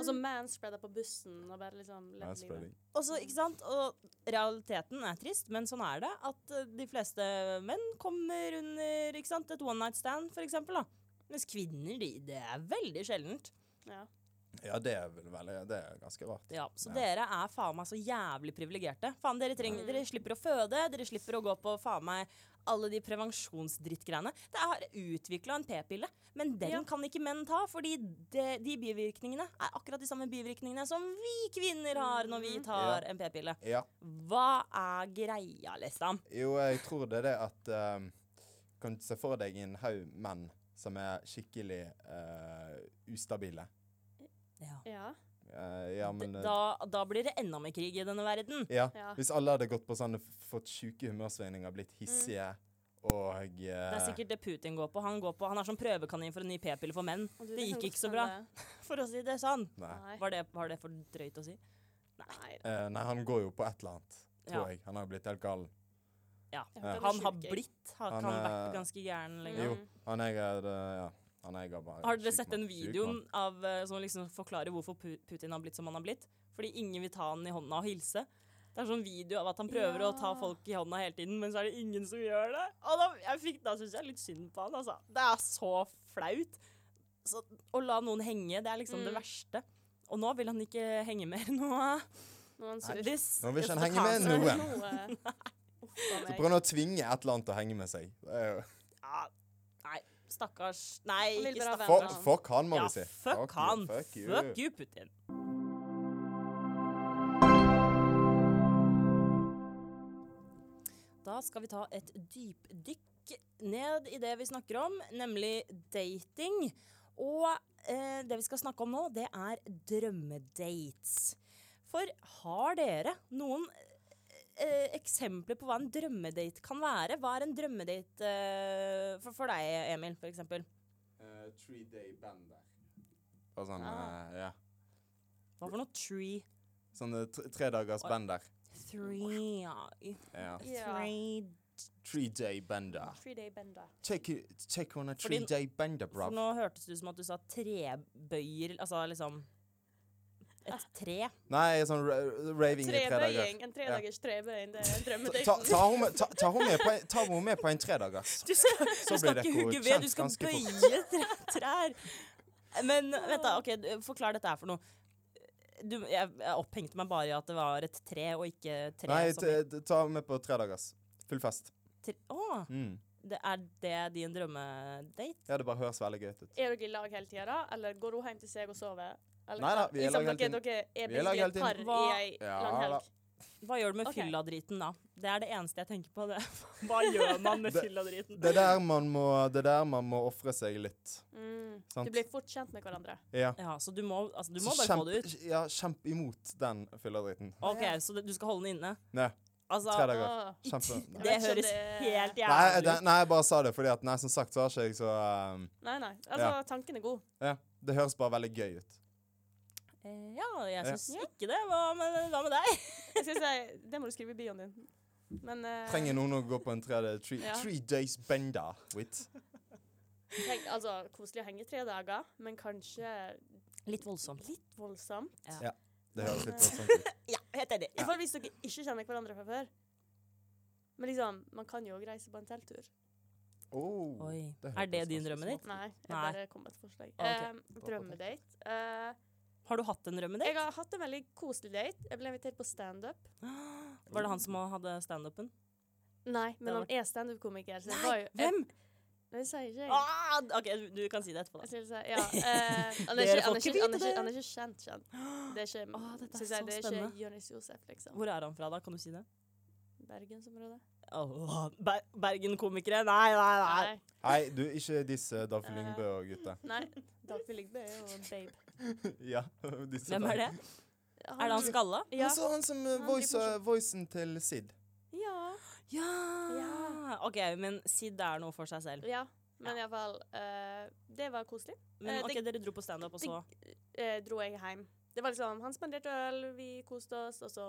Og så manspreader på bussen og bare liksom levd livet.
Manspreading.
Og så, ikke sant? Og realiteten er trist, men sånn er det. At eh, de fleste menn kommer under ikke sant? et one night stand, for eksempel. Da. Mens kvinner, de, det er veldig sjeldent.
Ja.
Ja, det er vel veldig Det er ganske rart.
Ja, så dere er faen meg så jævlig privilegerte. Faen, dere, trenger, dere slipper å føde, dere slipper å gå på faen meg alle de prevensjonsdrittgreiene. Det er utvikla en p-pille, men den
Ja.
kan ikke menn ta, fordi de, de bivirkningene er akkurat de samme bivirkningene som vi kvinner har når vi tar en p-pille.
Ja.
Hva er greia, liksom?
Jo, jeg tror det er det at ehm, Kan du se for deg en haug menn som er skikkelig eh, ustabile.
Ja.
Ja.
Eh, ja, men eh,
Da, da blir det enda mer krig i denne verden.
ja.
Ja.
Hvis alle hadde gått på sånn f- fått sjuke humørsvingninger, blitt hissige og
Mm. Det er
eh,
sikkert det Putin går på. Han, går på, han er som prøvekanin for en ny p-pille for menn.
Og du,
Det
kan
gikk
godt
ikke så bra,
hende-
for å si det sånn.
Nei.
Nei.
Var det, var det for drøyt å si?
Nei.
Eh, nei, han går jo på et eller annet, tror
Ja.
jeg. Han har blitt helt gal.
Ja.
Jeg håper
Han
var
har
sjuk, jeg.
blitt har,
Han
kan
er-
vært ganske gæren lenge.
Mm.
Jo, han jeg er det, ja. Han jeg er bare
Har dere
syk
sett
mann,
den
syk
videoen
mann.
av, eh, som liksom forklarer hvorfor Pu- Putin har blitt som han har blitt? Fordi ingen vil ta han i hånda og hilse. Det er sånn video av at han prøver å ta
Ja.
folk i hånda hele tiden, men så er det ingen som gjør det. Og da, jeg fikk, da syns jeg litt synd på han, altså. Det er så flaut. Så, å la noen henge, det er liksom
Mm.
det verste. Og nå vil han ikke henge mer. Nå
Noen
Nå
sur.
Nå vil ikke han henge med noen.
*laughs* Så
Prøv nå å tvinge et eller annet å henge med seg. Eh, Det er jo-
Ja, nei, stakkars. Nei,
Han vil
ikke
bare
stakkars.
være
Fuck,
han.
fuck han, må vi
Ja,
si.
fuck
you,
han.
Fuck you.
Fuck you, Putin. Da skal vi ta et dypdykk ned i det vi snakker om, nemlig dating. Og eh, det vi skal snakke om nå, det er drømmedates. For har dere noen eh, eksempler på hva en drømmedate kan være? Hva er en drømmedate eh, for, for deg, Emil, for eksempel?
Eh, three day bender. Bare sånn,
Ah.
eh, ja.
Hva for noe tree?
Sånn eh, tre, tre dagers bender.
Three,
Ja.
Ja.
three
Three day bender.
Three day bender.
Check, it- check on a
Fordi-
three day bender,
For
bro.
nå hørtes det ut som at du sa trebøyer, altså liksom et tre.
Nei, sånn ra raving i tre dager.
Trebøying. En tredagers trebøying, det er en drømmedate.
Ta, ta, hun med, ta, ta, hun med på en, ta hun med på en tredagers.
*laughs* Du skal,
blir
du skal
det
ikke
ikke
hugge ved,
godkjent
du skal
ganske
bøye tre, trær. Men vent, da. ok, du- Forklar dette her for noe. Du, jeg, jeg opphengte meg bare i at det var et tre og ikke tre.
Nei,
som i
t- t- ta hun med på tredagers. Full fest.
tre. Å,
Mm.
det er det din drømmedate?
Ja, det bare høres veldig gøy ut.
Er dere i lag hele tida, da? Eller går hun hjem til seg og sover? Eller,
Nei da, vi er i
liksom,
lag hele
dere- Dere er
Vi er i lag
basically
hele
et par
tiden.
i
Hva-
ei
Ja
lang
da.
helg.
Hva gjør du med
Ok.
fylladriten da? Det er det eneste jeg tenker på. Det. Hva gjør man med
Det-
fylladriten?
Det er der man må, det er der man må ofre seg litt.
Mm.
Sant.
Du blir fort kjent med hverandre.
Ja.
Ja, så du må, altså, du
Så
må bare
kjemp,
få det ut.
Ja, kjemp imot den fylladriten.
Ok, Så det, du skal holde den inne?
Nei,
Altså,
tre dager.
Åh.
Kjempe... Nei.
det
Jeg vet ikke om
høres
det-
helt
Nei,
jævlig
det,
ut.
nei, jeg bare sa det fordi at Nei, som sagt så har ikke jeg så um,
Nei, nei. Altså,
Ja.
tanken er god.
Ja, det høres bare veldig gøy ut.
Eh, Ja, jeg
Ja.
syns ikke det. Hva med, hva med deg?
Jeg skal si, det må du skrive i bioen din. Men eh,
Trenger noen å gå på en tre, three,
Ja.
three days bender with.
tenk, altså, koselig å henge tre dager, men kanskje
Litt voldsomt.
litt voldsomt.
Det høres litt voldsomt ut.
Ja, helt enig.
I hvert fall hvis dere ikke kjenner hverandre fra før. Men liksom, man kan jo også reise på en telttur.
Oh.
Oi.
Det
Er det
hørtes
din
ganske
drømme ditt?
Nei, jeg
Nei.
bare kom med et forslag.
Ok.
Eh, drømmedate. Eh,
Har du hatt en
jeg
drømmedate?
har hatt en veldig koselig date. Jeg ble invitert på standup.
*gasps* Var det han som hadde standupen?
Nei, men
Det
han er standup-komiker. så det var
Nei,
jo-
hvem?
Det sier ikke jeg.
Ah, OK, du kan si det etterpå,
Jeg
da.
skulle si,
*laughs*
ja.
Dere
eh, han, er ikke, han,
får
er
ikke
ikke, han, er
vite
ikke,
det.
han er ikke kjent, kjent.
*gasps*
Det er ikke,
Åh, dette er
skal jeg si,
så
det er
spennende.
ikke Jonis Josef, liksom.
Hvor er han fra, da? Kan du si det?
Bergensområdet.
Åh, Ber Bergen-komikere? Nei, nei, nei.
Nei.
Nei, du, ikke diss eh, Dagfjell Lyngbø og gutta.
Nei.
*laughs*
Dagfjell Lyngby er jo en babe.
ja, disse
Hvem er det? Er det han skalla?
Ja.
Altså, han som eh,
Han
voice,
driver
voicen til Sid.
ja.
Ja. OK, men Sid er noe for seg selv.
ja. Men iallfall uh, Det var koselig.
Men
Eh,
OK,
det-
dere dro på standup, og
det-
så
Eh, dro jeg hjem. Det var liksom Han spanderte øl, vi koste oss, og så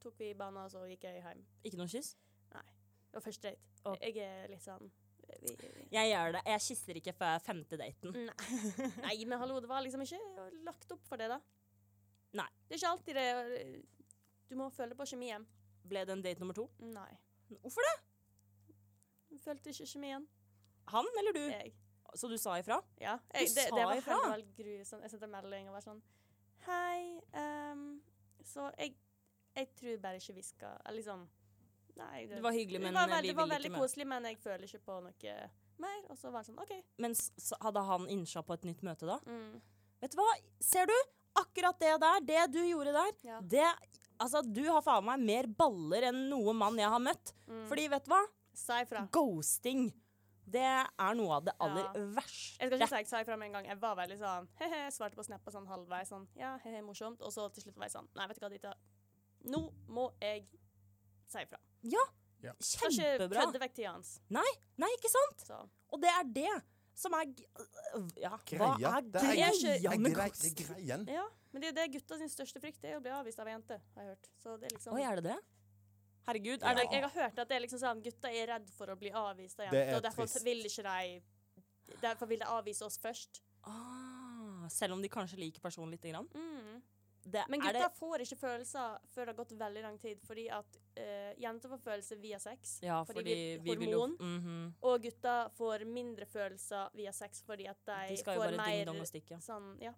tok vi banen, og så gikk jeg hjem.
ikke noe kyss?
Det var første date.
Å.
Jeg er litt sånn vi,
Jeg gjør det. Jeg kysser ikke før femte daten.
Nei. Nei, men hallo, det var liksom ikke lagt opp for det, da.
Nei.
Det er ikke alltid det eh, Du må føle på kjemien.
Ble det en date nummer to?
Nei.
Hvorfor det?
Jeg følte ikke kjemien.
Han eller du?
Jeg.
Så du sa ifra?
Ja. Jeg,
Du
det,
sa
det var
ifra.
helt grusomt. Jeg sendte en melding og var sånn Hei. ehm, så jeg, jeg tror bare ikke vi skal eller Liksom Nei.
Det var hyggelig, men
det var,
vi
veld- det var
vil ikke
veldig
mer.
koselig, men jeg føler ikke på noe mer. Og så var det sånn OK.
Men s- s- hadde han innsja på et nytt møte da?
Mm.
Vet du hva? Ser du? Akkurat det der, det du gjorde der,
Ja.
det Altså, du har faen meg mer baller enn noen mann jeg har møtt.
Mm.
Fordi, vet du hva?
Sa ifra.
Ghosting. Det er noe av det aller
Ja. Jeg skal
verste.
ikke si jeg sa ifra med en gang. Jeg var veldig sånn *laughs* he-he, svarte på Snap og sånn halvveis sånn ja, he-he, morsomt. Og så til slutt var jeg sånn Nei, vet du hva, Dita. Nå må jeg si ifra. Kan ikke
Kjempebra.
kødde vekk tida hans.
Nei, ikke sant?
Så
Og det er det som er g- Ja, hva
Greia.
er
Det er
greia
ikke-
Jeg
med
grei- det er
ghosting?
greien.
ja. Men det er det er gutta sin største frykt, det er å bli avvist av ei jente, har jeg hørt. Så det er liksom
Oi, er det det? Herregud,
Men
er det
jeg, jeg har hørt at det er liksom sånn gutta er redd for å bli avvist av
Det
jenter,
er
og derfor
trist.
vil ikke de Derfor vil de avvise oss først.
ah, Selv om de kanskje liker personen lite grann? Det,
Men
Mm. er
gutta
det
får ikke følelser før det har gått veldig lang tid, fordi at eh, jenter får følelser via sex,
Ja,
fordi
fordi
vi-
vi vil jo
hormon.
Mhm.
og gutta får mindre følelser via sex fordi at de,
De skal jo
får
bare ding dong
mer
og stikke.
sånn Ja.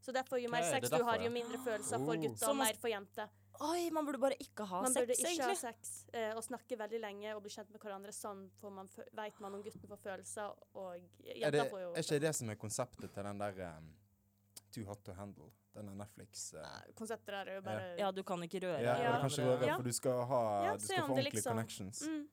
Så derfor, jo
Ok,
mer
det er
sex du
derfor, Oh.
har,
ja.
jo mindre følelser for gutta,
Så
og
man-
mer for jenter.
Oi, man burde bare ikke ha
Man
sex,
burde ikke ha
egentlig.
sex eh, og snakke veldig lenge og bli kjent med hverandre. Sånn får man, fø- vet man om gutten får følelser, og
Er, det,
jenta får jo sånn,
er ikke det som er konseptet til den der um, Too Hot To Handle? Denne Netflix uh,
Konseptet der eh, er jo bare
Ja, du kan ikke røre
Ja,
Ja.
Du kan ikke røre,
Ja.
for du skal, ha,
Ja,
du
se
skal
om
få
det
ordentlige
liksom-
connections.
mm,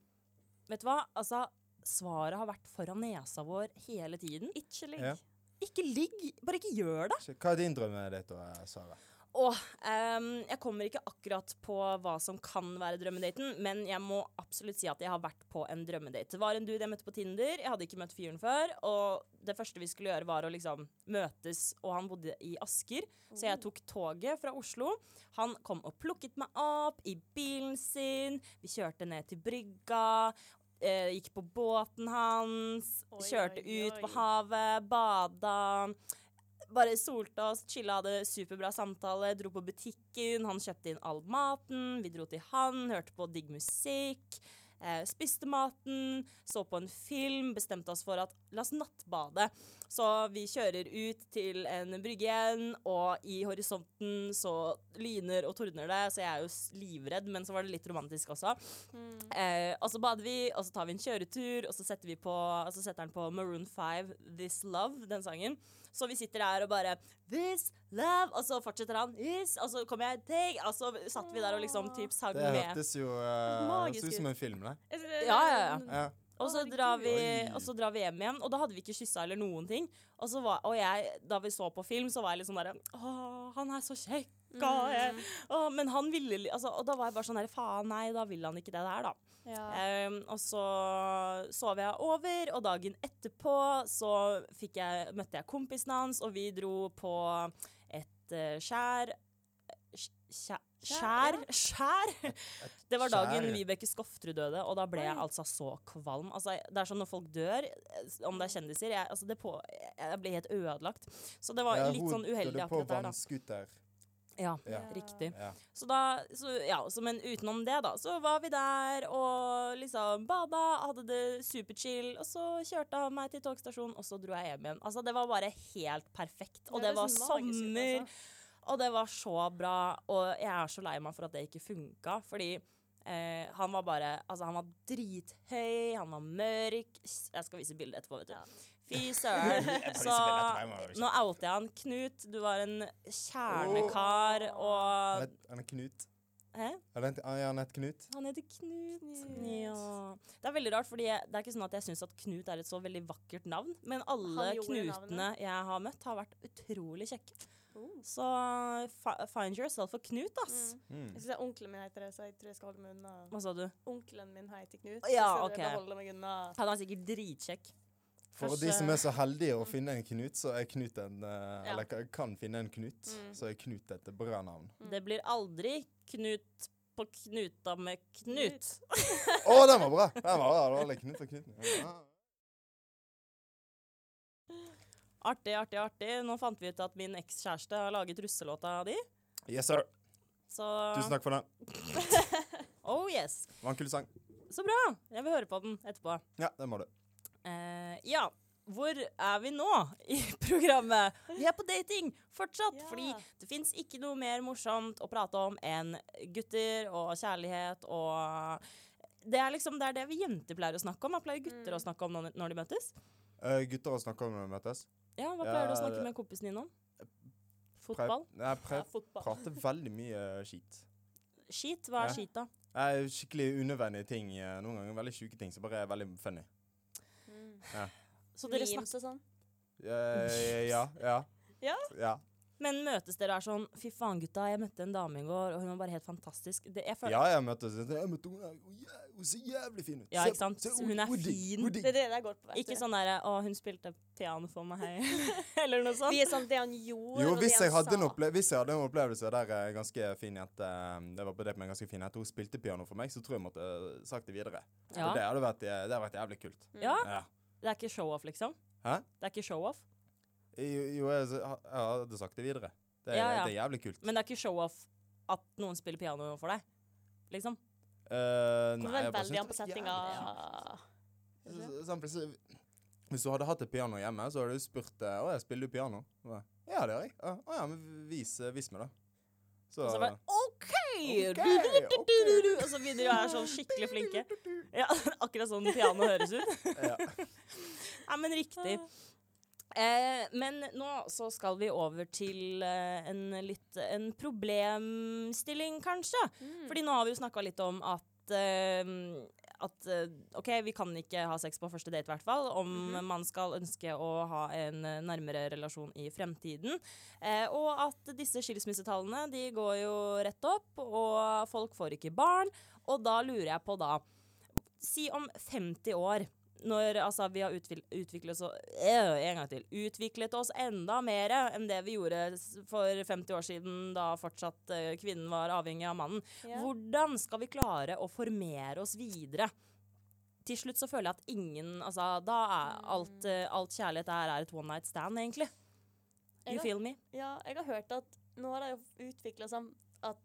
Vet du hva? Altså, svaret har vært foran nesa vår hele tiden.
Ikke ligg.
Ja.
Ikke ligg, bare ikke gjør det.
Ikke- Hva er din drøm, det, Sara?
Og ehm, jeg kommer ikke akkurat på hva som kan være drømmedaten, men jeg må absolutt si at jeg har vært på en drømmedate. Det var en dude jeg møtte på Tinder. Jeg hadde ikke møtt fyren før. Og det første vi skulle gjøre, var å liksom møtes, og han bodde i Asker. Så jeg tok toget fra Oslo. Han kom og plukket meg opp i bilen sin. Vi kjørte ned til brygga. eh, gikk på båten hans.
Oi,
kjørte
oi,
ut på
oi.
havet. Bada bare solte oss, chilla, hadde superbra samtale, dro på butikken, han kjøpte inn all maten, vi dro til han, hørte på digg musikk, eh, spiste maten, så på en film, bestemte oss for at la oss nattbade. Så vi kjører ut til en brygge igjen, og i horisonten så lyner og tordner det, så jeg er jo s- livredd, men så var det litt romantisk også.
mm.
Eh, og så bader vi, og så tar vi en kjøretur, og så setter, vi på, og så setter han på Maroon 5, 'This Love', den sangen. Så vi sitter der og bare 'This Love', og så fortsetter han 'This', og så kommer jeg 'Take', og så satt vi der og liksom typ sang
Det
med.
hørtes jo uh,
Magisk Mm.
ut som en film, det.
Jeg synes det er-
Ja, ja, ja.
Ja.
Og så
Å,
drar vi,
herregud.
og så drar vi hjem igjen, og da hadde vi ikke kyssa eller noen ting. Og, så var, og jeg, da vi så på film, så var jeg litt sånn derre Å, han er så kjekk. og jeg-
Mm.
å, men han ville li- altså, Og da var jeg bare sånn der Faen, nei, da vil han ikke det der, da.
Ja.
Ehm, og så sov jeg over, og dagen etterpå så fikk jeg, møtte jeg kompisen hans, og vi dro på et eh, skjær Skj- skjær- Skjær? Skjær? Det var dagen
skjær.
Vibeke Skofterud døde, og da ble jeg altså så kvalm. Altså, jeg- det er sånn når folk dør, eh, om det er kjendiser jeg, altså det på, jeg ble helt ødelagt. Så det var
Ja,
litt
hun
sånn uheldig
døde på
akkurat der, da.
vannskuter.
Ja,
Ja.
riktig.
*laughs*
Ja.
Så da, så, ja, så, men utenom det da, så var vi der og liksom bada, hadde det superchill, og så kjørte han meg til togstasjonen, og så dro jeg hjem igjen. Altså, det var bare helt perfekt. Og det,
høres
var
liksom magisk ut,
sommer,
altså.
og det var så bra, og jeg er så lei meg for at det ikke funka, fordi eh, han var bare, altså han var drithøy, han var mørk, jeg skal vise bildet etterpå, vet du.
Ja. *laughs*
Fy søren. Så
etterpå, jeg må jo
nå outer jeg han. Knut, du var en kjernekar, og
Han er Knut.
Hæ?
Er det en til- ah, ja, Anette Knut?
Han heter Knut.
Knut.
Ja. Det er veldig rart, fordi jeg, det er ikke sånn at jeg syns at Knut er et så veldig vakkert navn, men alle
Han gjorde
knutene
navnet.
jeg har møtt, har vært utrolig kjekke.
Oh.
Så fi- find yourself a Knut, ass.
Mm.
Mm.
Jeg synes det er onkelen min heter det, så jeg tror jeg skal holde meg unna.
Hva sa du?
Onkelen min heter Knut,
Ja,
så jeg
ok.
skal holde meg unna.
Han er sikkert dritkjekk.
For
Kanskje-
de som er så heldige å finne en Knut, så er Knut en eh,
Ja.
Eller ka- kan finne en Knut,
Mm.
så er Knut et bra navn.
Det blir aldri Knut på knuta med Knut.
Å, den var bra! Den var bra, det var alle Knut og Knut. Ja.
Artig, artig, artig. Nå fant vi ut at min ekskjæreste har laget russelåta di.
Yes, sir.
Så
Tusen takk for den.
Oh yes.
Det var en kul sang.
Så bra. Jeg vil høre på den etterpå.
Ja, det må du.
Eh, ja. Hvor er vi nå i *laughs* programmet? Vi er på dating fortsatt,
Ja.
fordi det fins ikke noe mer morsomt å prate om enn gutter og kjærlighet og Det er liksom det, er det vi jenter pleier å snakke om. Hva pleier gutter
Mm.
å snakke om når, når de møtes?
Eh, gutter har snakka om når vi møtes.
Ja, Hva
Ja,
pleier du å snakke
det-
med kompisen din om?
Prøv-
Fotball?
Nei,
Ja,
prøv
fotball.
prater veldig mye eh, skit.
Skit? Hva
Ja.
er skit, da?
Nei, skikkelig unødvendige ting. eh, Noen ganger veldig sjuke ting som bare er veldig funny.
Mm.
Så dere snakker
Memes og sånn.
Eh, ja, ja.
Ja?
ja.
Men møtes dere og er sånn Fy faen, gutta, jeg møtte en dame i går, og hun var bare helt fantastisk. Det, jeg føler,
Ja, jeg møtte henne. Jeg møtte henne. Hun er hun er så jævlig fin ut.
Ja,
Se-
ikke sant?
se,
Hun er
digg,
fin.
hun digg.
Det er det det går på. vet
Ikke
du.
sånn derre Å, hun spilte piano for meg, *laughs* eller noe
Vi
sånt.
er sånn det han gjorde,
Jo,
og
hvis
det
jeg,
han
hadde en
sa.
opple hvis jeg hadde en opplevelse der eh, en ganske fin jente eh, Det var på det med en ganske fin jente Hun spilte piano for meg, så tror jeg jeg måtte eh, sagt det videre.
Ja.
For det hadde vært, eh, det hadde vært jævlig kult.
ja.
Ja.
Det er ikke show-off, liksom?
Hæ?
Det er ikke show-off.
Jo, jo, jeg, s- ha- jeg hadde sagt det videre. Det, er-
Ja, ja.
det er jævlig kult.
Men det er ikke show-off at noen spiller piano for deg, liksom?
Eh, nei,
Kommer vel
jeg bare
veldig an på
synes det
settinga.
var jævlig kult. Så- sånn, plutselig- Hvis du hadde hatt et piano hjemme, så hadde du spurt eh, Å, jeg spiller du piano? Og jeg, Ja, det gjør jeg. Å ja, men vis, eh, vis meg, da. Så,
Og så bare OK!
Ok,
Du-du-du-du-du-du-du! Og så begynner de å være sånn skikkelig flinke. Ja, *laughs* akkurat sånn piano høres ut.
ja.
Nei, men riktig. Eh, men nå så skal vi over til eh, en litt En problemstilling, kanskje. Fordi nå har vi jo snakka litt om at eh, at eh, OK, vi kan ikke ha sex på første date, i hvert fall. Om man skal ønske å ha en eh, nærmere relasjon i fremtiden. Eh, og at disse skilsmissetallene de går jo rett opp, og folk får ikke barn. Og da lurer jeg på, da Si om 50 år når altså, vi har utvil- utviklet oss, øh, en gang til, utviklet oss enda mer enn det vi gjorde s- for 50 år siden, da fortsatt eh, kvinnen var avhengig av mannen.
Ja.
Hvordan skal vi klare å formere oss videre? Til slutt så føler jeg at ingen altså, Da er alt,
Mm.
eh, alt kjærlighet er, er et one night stand, egentlig. You
Jeg har-
feel me?
Ja, jeg har hørt at nå har de jo utvikla sånn at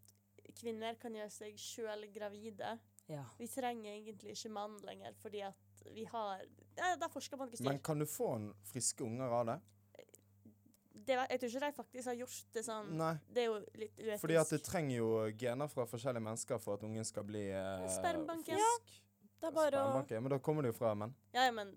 kvinner kan gjøre seg sjøl gravide.
Ja.
Vi trenger egentlig ikke mann lenger, fordi at vi har ja, Der forsker man ikke
Men
styr.
kan du få en friske unger av det?
Det, var- jeg tror ikke de faktisk har gjort det sånn.
Nei.
Det er jo litt uetisk.
Fordi at det trenger jo gener fra forskjellige mennesker for at ungen skal bli eh,
Spermbanken.
frisk.
Det er bare å
Spermbanken. Men da kommer det jo fra menn.
Ja, ja, men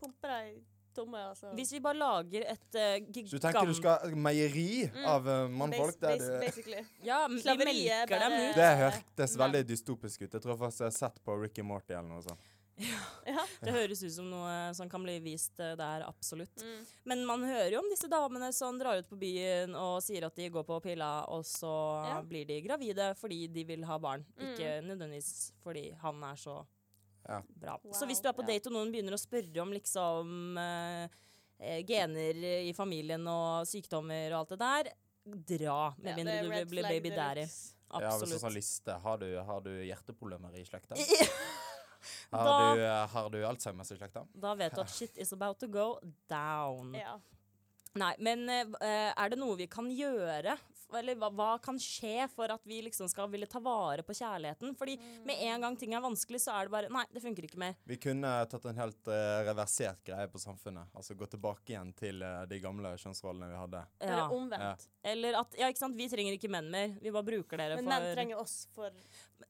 pumper de tomme, altså.
Hvis vi bare lager et eh,
Så du tenker du
gigant...
skal ha meieri
Mm.
av eh, mannfolk?
Bas-
Der
bas-
du,
Basically. *laughs*
Ja, vi
Slaveriet
melker dem
bare-
ut.
det hørtes
Nei.
veldig dystopisk ut. Jeg tror faktisk jeg har sett på Ricky Morty eller noe sånt.
Ja.
Det høres ut som noe øh, som kan bli vist eh, der, absolutt.
Mm.
Men man hører jo om disse damene som drar ut på byen og sier at de går på pilla, og så
Ja. Mm.
blir de gravide fordi de vil ha barn. Ikke nødvendigvis fordi han er så
Ja.
bra.
Wow.
Så hvis du er på
Ja.
date og noen begynner å spørre om liksom eh, eh, gener i familien og sykdommer og alt det der, dra. Med
Ja, det
mindre
er
du
red
vil bli
flag
baby daddy.
deluxe.
Ja, hvis du
Absolutt.
sånn liste. Har du, har du hjerteproblemer i slekta?
Da-
Har du, eh, har du Alzheimers i slekta?
*laughs* Da vet du at shit is about to go down.
Ja.
Nei, men eh, er det noe vi kan gjøre? F- Eller hva, hva kan skje for at vi liksom skal ville ta vare på kjærligheten? Fordi med en gang ting er vanskelig, så er det bare Nei, det funker ikke mer.
Vi kunne tatt en helt eh, reversert greie på samfunnet. Altså gå tilbake igjen til eh, de gamle kjønnsrollene vi hadde.
Ja.
Bare omvendt.
Eller at Ja, ikke sant, vi trenger ikke menn mer. Vi bare bruker dere
Men
for
menn trenger oss for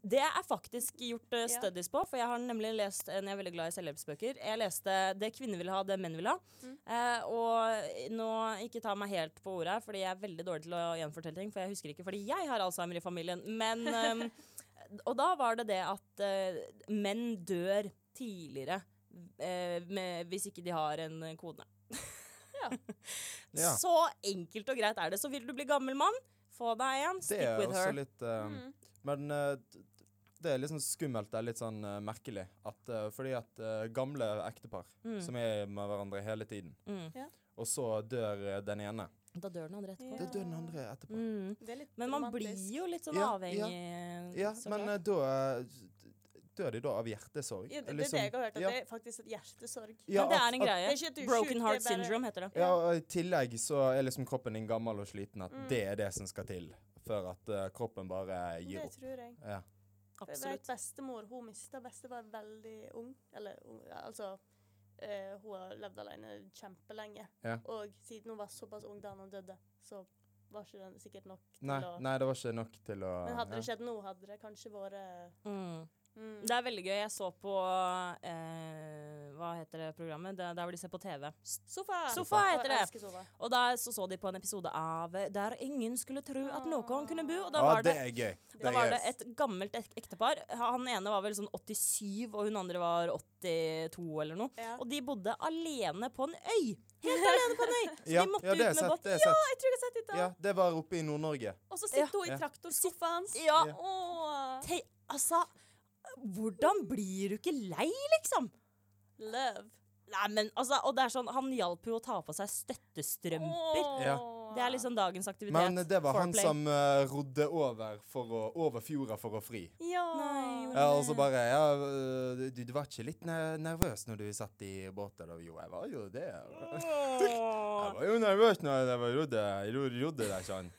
Det er faktisk gjort eh,
Ja.
studies på, for jeg har nemlig lest en jeg er veldig glad i selvhjelpsbøker. Jeg leste 'Det kvinner vil ha, det menn
Mm.
vil ha'. Eh, og nå, ikke ta meg helt på ordet, her, fordi jeg er veldig dårlig til å gjenfortelle fortelle ting, for jeg husker ikke fordi jeg har Alzheimer i familien.
*laughs*
Men, ehm, og da var det det at eh, menn dør tidligere eh, med, hvis ikke de har en eh, kone.
Ja.
*laughs*
Ja.
Så enkelt og greit er det. Så vil du bli gammel mann, få deg en,
Det
stick
er
with
også
her.
litt eh,
Mm.
Men eh, d- d- det er litt sånn skummelt, det er litt sånn eh, merkelig. At, eh, fordi at eh, gamle ektepar
Mm.
som er med hverandre hele tiden,
Mm.
og så dør eh, den ene.
Da dør den andre etterpå.
Ja.
Da dør den andre etterpå.
Mm.
Det er litt
Men man
romantisk.
blir jo litt sånn
Ja,
avhengig.
ja. Ja,
så
men
klart.
eh, da eh, dør de da av hjertesorg.
ja, det, det er
Liksom-
det jeg har hørt, at
ja.
det er faktisk et hjertesorg.
Ja,
men det
at-
er en
at-
greie.
Det er ikke at du er sjuk,
Broken
det er
heart
bare-
syndrome heter det.
Ja, og I tillegg så er liksom kroppen din gammel og sliten, at
Mm.
det er det som skal til før at eh, kroppen bare gir
Det
opp.
tror jeg.
Ja.
For Jeg vet
Absolutt.
bestemor hun mista bestefar veldig ung. Eller ung, ja, altså eh, Hun har levd alene kjempelenge.
Ja.
Og siden hun var såpass ung da han døde, så var ikke den sikkert nok til
Nei,
å
nei, det var ikke nok til å
Men hadde det
ja.
skjedd nå, hadde det kanskje vært
Mm.
mm,
Det er veldig gøy. Jeg så på eh, Hva heter det programmet? Det, der hvor de ser på TV.
Sofa!
Sofa heter det.
Jeg elsker sofa.
Og der så, så de på en episode av eh, Der ingen skulle tro at noen kunne bo. Og da
Ah. Ja,
var
det
det,
er gøy.
da var
gøy.
det et gammelt ek ektepar. Han ene var vel sånn 87, og hun andre var 82 eller noe.
Ja.
Og de bodde alene på en øy. Helt alene på en øy! Så
ja,
de måtte
ja, det
ut
er
med
sett.
båt.
Det er sett.
Jeg tror jeg har sett dette.
Ja, det var oppe i Nord-Norge.
Og så sitter hun
Ja.
i traktorskuffa hans.
Ja,
Ja.
Åh,
te altså Hvordan blir du ikke lei, liksom?
love.
Nei, men altså Og det er sånn, han hjalp jo å ta på seg støttestrømper.
Åh.
Det er liksom dagens aktivitet.
Men eh, det var han
Foreplay.
som eh, rodde over, for å, over fjorda for å fri.
Ja.
Nei, jo.
Ja, og så bare Ja, øh, du, du var ikke litt ne- nervøs når du satt i båten? da? Jo, jeg var jo det. Jeg var jo nervøs når jeg var rodde, rodde, rodde der, sånn.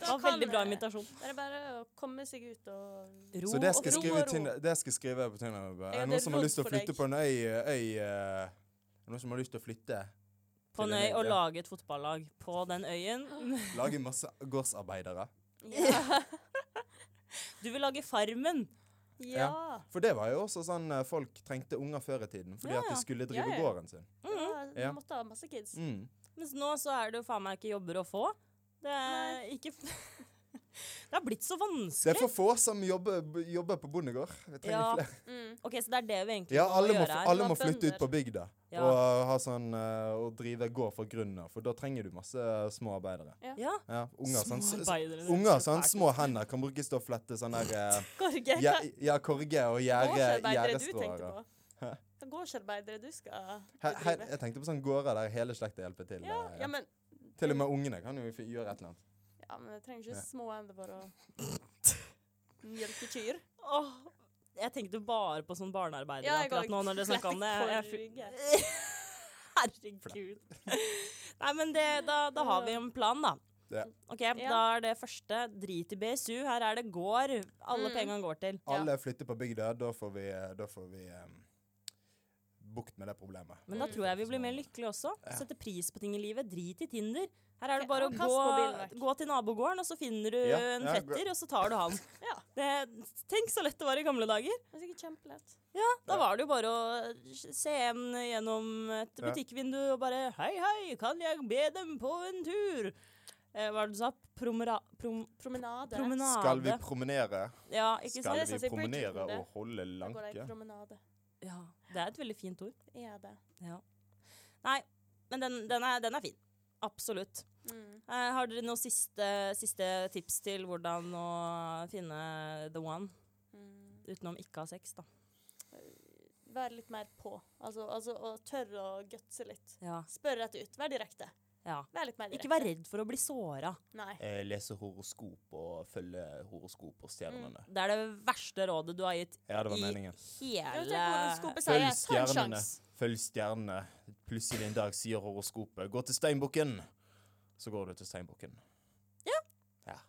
Det var veldig bra imitasjon.
Det er bare å komme seg ut og
Ro
Så det skal
og
jeg
ro.
skrive,
og ro.
Tinder, det skal jeg skrive på Tinder. bare. Er det
Ja, det
noen som har
rodd
lyst til å
for deg.
flytte på en øy, øy eh, Er det noen som har lyst til å flytte?
På en
til en
øy
øy,
og
ja.
lage et fotballag på den øyen.
Lage masse gårdsarbeidere?
Ja.
Du vil lage Farmen.
ja.
For det var jo også sånn eh, folk trengte unger før i tiden, fordi
Ja,
at
ja.
de skulle drive
Ja, ja.
gården sin.
ja.
Ja.
Du måtte ha masse kids.
Mm.
Mens nå så er det jo faen meg ikke jobber å få. Det er
Nei.
ikke *laughs* Det har blitt så
Det er
vanskelig.
for få som jobber, jobber på bondegård. Vi trenger
Ja.
flere.
Mm.
OK, så det er det vi egentlig
Ja, alle
må
må,
gjøre her.
alle må
Du har
flytte ut
bønder.
på bygda
Ja.
og ha sånn eh, og drive gård fra grunnen av, for da trenger du masse eh, små arbeidere.
Ja.
Ja, unger sånn, s- s-
Småarbeidere, det er
unger
så
sånn
fælt.
små hender kan brukes til å flette sånn der eh,
*laughs* Korge,
ja,
hva
ja, korge og gjerde
gårdsarbeidere du tenkte
gjerdestråer.
på? Hva gårdsarbeidere du skal
He- he-
bedrive?
Jeg tenkte på sånne gårder der hele slekta hjelper til.
Ja,
eh,
ja, men,
Til og med ungene kan jo fi- gjøre et eller annet.
ja, men jeg trenger
Ja.
ikke små hender for å mjølke kyr.
Åh, jeg tenkte bare på sånn barnearbeidere
Ja, jeg
akkurat
går-
nå
*laughs*
når dere snakka om det. Jeg,
Korge.
jeg, Herregud. *laughs* Nei, men det, da, da har vi en plan, da.
Ja.
OK, da er det første drit i BSU. Her er det gård alle
Mm.
pengene går til.
Ja.
Alle flytter på bygda, da får vi, da får vi em, bukt med det problemet.
Men da
Mm.
tror jeg vi blir mer lykkelige også. Sette pris på ting i livet. Drit i Tinder. Her er det
Ok,
bare
og
å
kast mobilen
gå,
vekk.
gå til nabogården, og så finner du
Ja,
en
ja, gå-
fetter, og så tar du han.
*laughs* Ja.
Det, tenk så lett det var i gamle dager.
Det er sikkert kjempelett.
Da
Ja.
var det jo bare å se en gjennom et
Ja.
butikkvindu og bare Hei, hei, kan jeg be dem på en tur? Eh, hva var det du sa? Promera, prom,
Promenade.
promenade.
Skal vi promenere?
Ja, ikke sant?
Skal
det som
vi
sier
promenere
Bridgerton, det.
og holde
Da går jeg
lanke?
i promenade.
Ja, det er et veldig fint ord.
Det Er det.
Nei, men den, den, er, den er fin. Absolutt.
Mm.
Eh, har dere noen siste, siste tips til hvordan å finne the one,
Mm.
utenom ikke ha sex, da?
Vær litt mer på. Altså, altså og tør å gutse litt.
Ja.
Spør rett ut. Vær direkte.
ja.
Vær litt mer direkte.
Ikke vær redd for å bli såra.
Nei.
Eh, Lese horoskop og følge horoskop og
stjernene.
Det er det verste rådet du har gitt
Ja, det var
i
meningen.
Jeg
hele
vet ikke hvordan skopet sier.
Følg
Ta en
stjernene.
sjans.
Følg stjernene. Plutselig en dag sier horoskopet 'gå til steinbukken'. Så går du til steinbukken.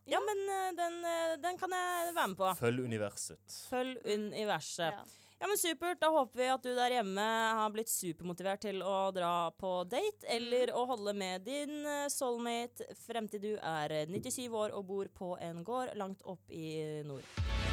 Ja, men eh, den, eh, den kan jeg være med på.
Følg universet.
Følg universet.
Ja.
Ja, men supert. Da håper vi at du der hjemme har blitt supermotivert til å dra på date, eller å holde med din eh, soulmate frem til du er eh, 97 år og bor på en gård langt opp i nord.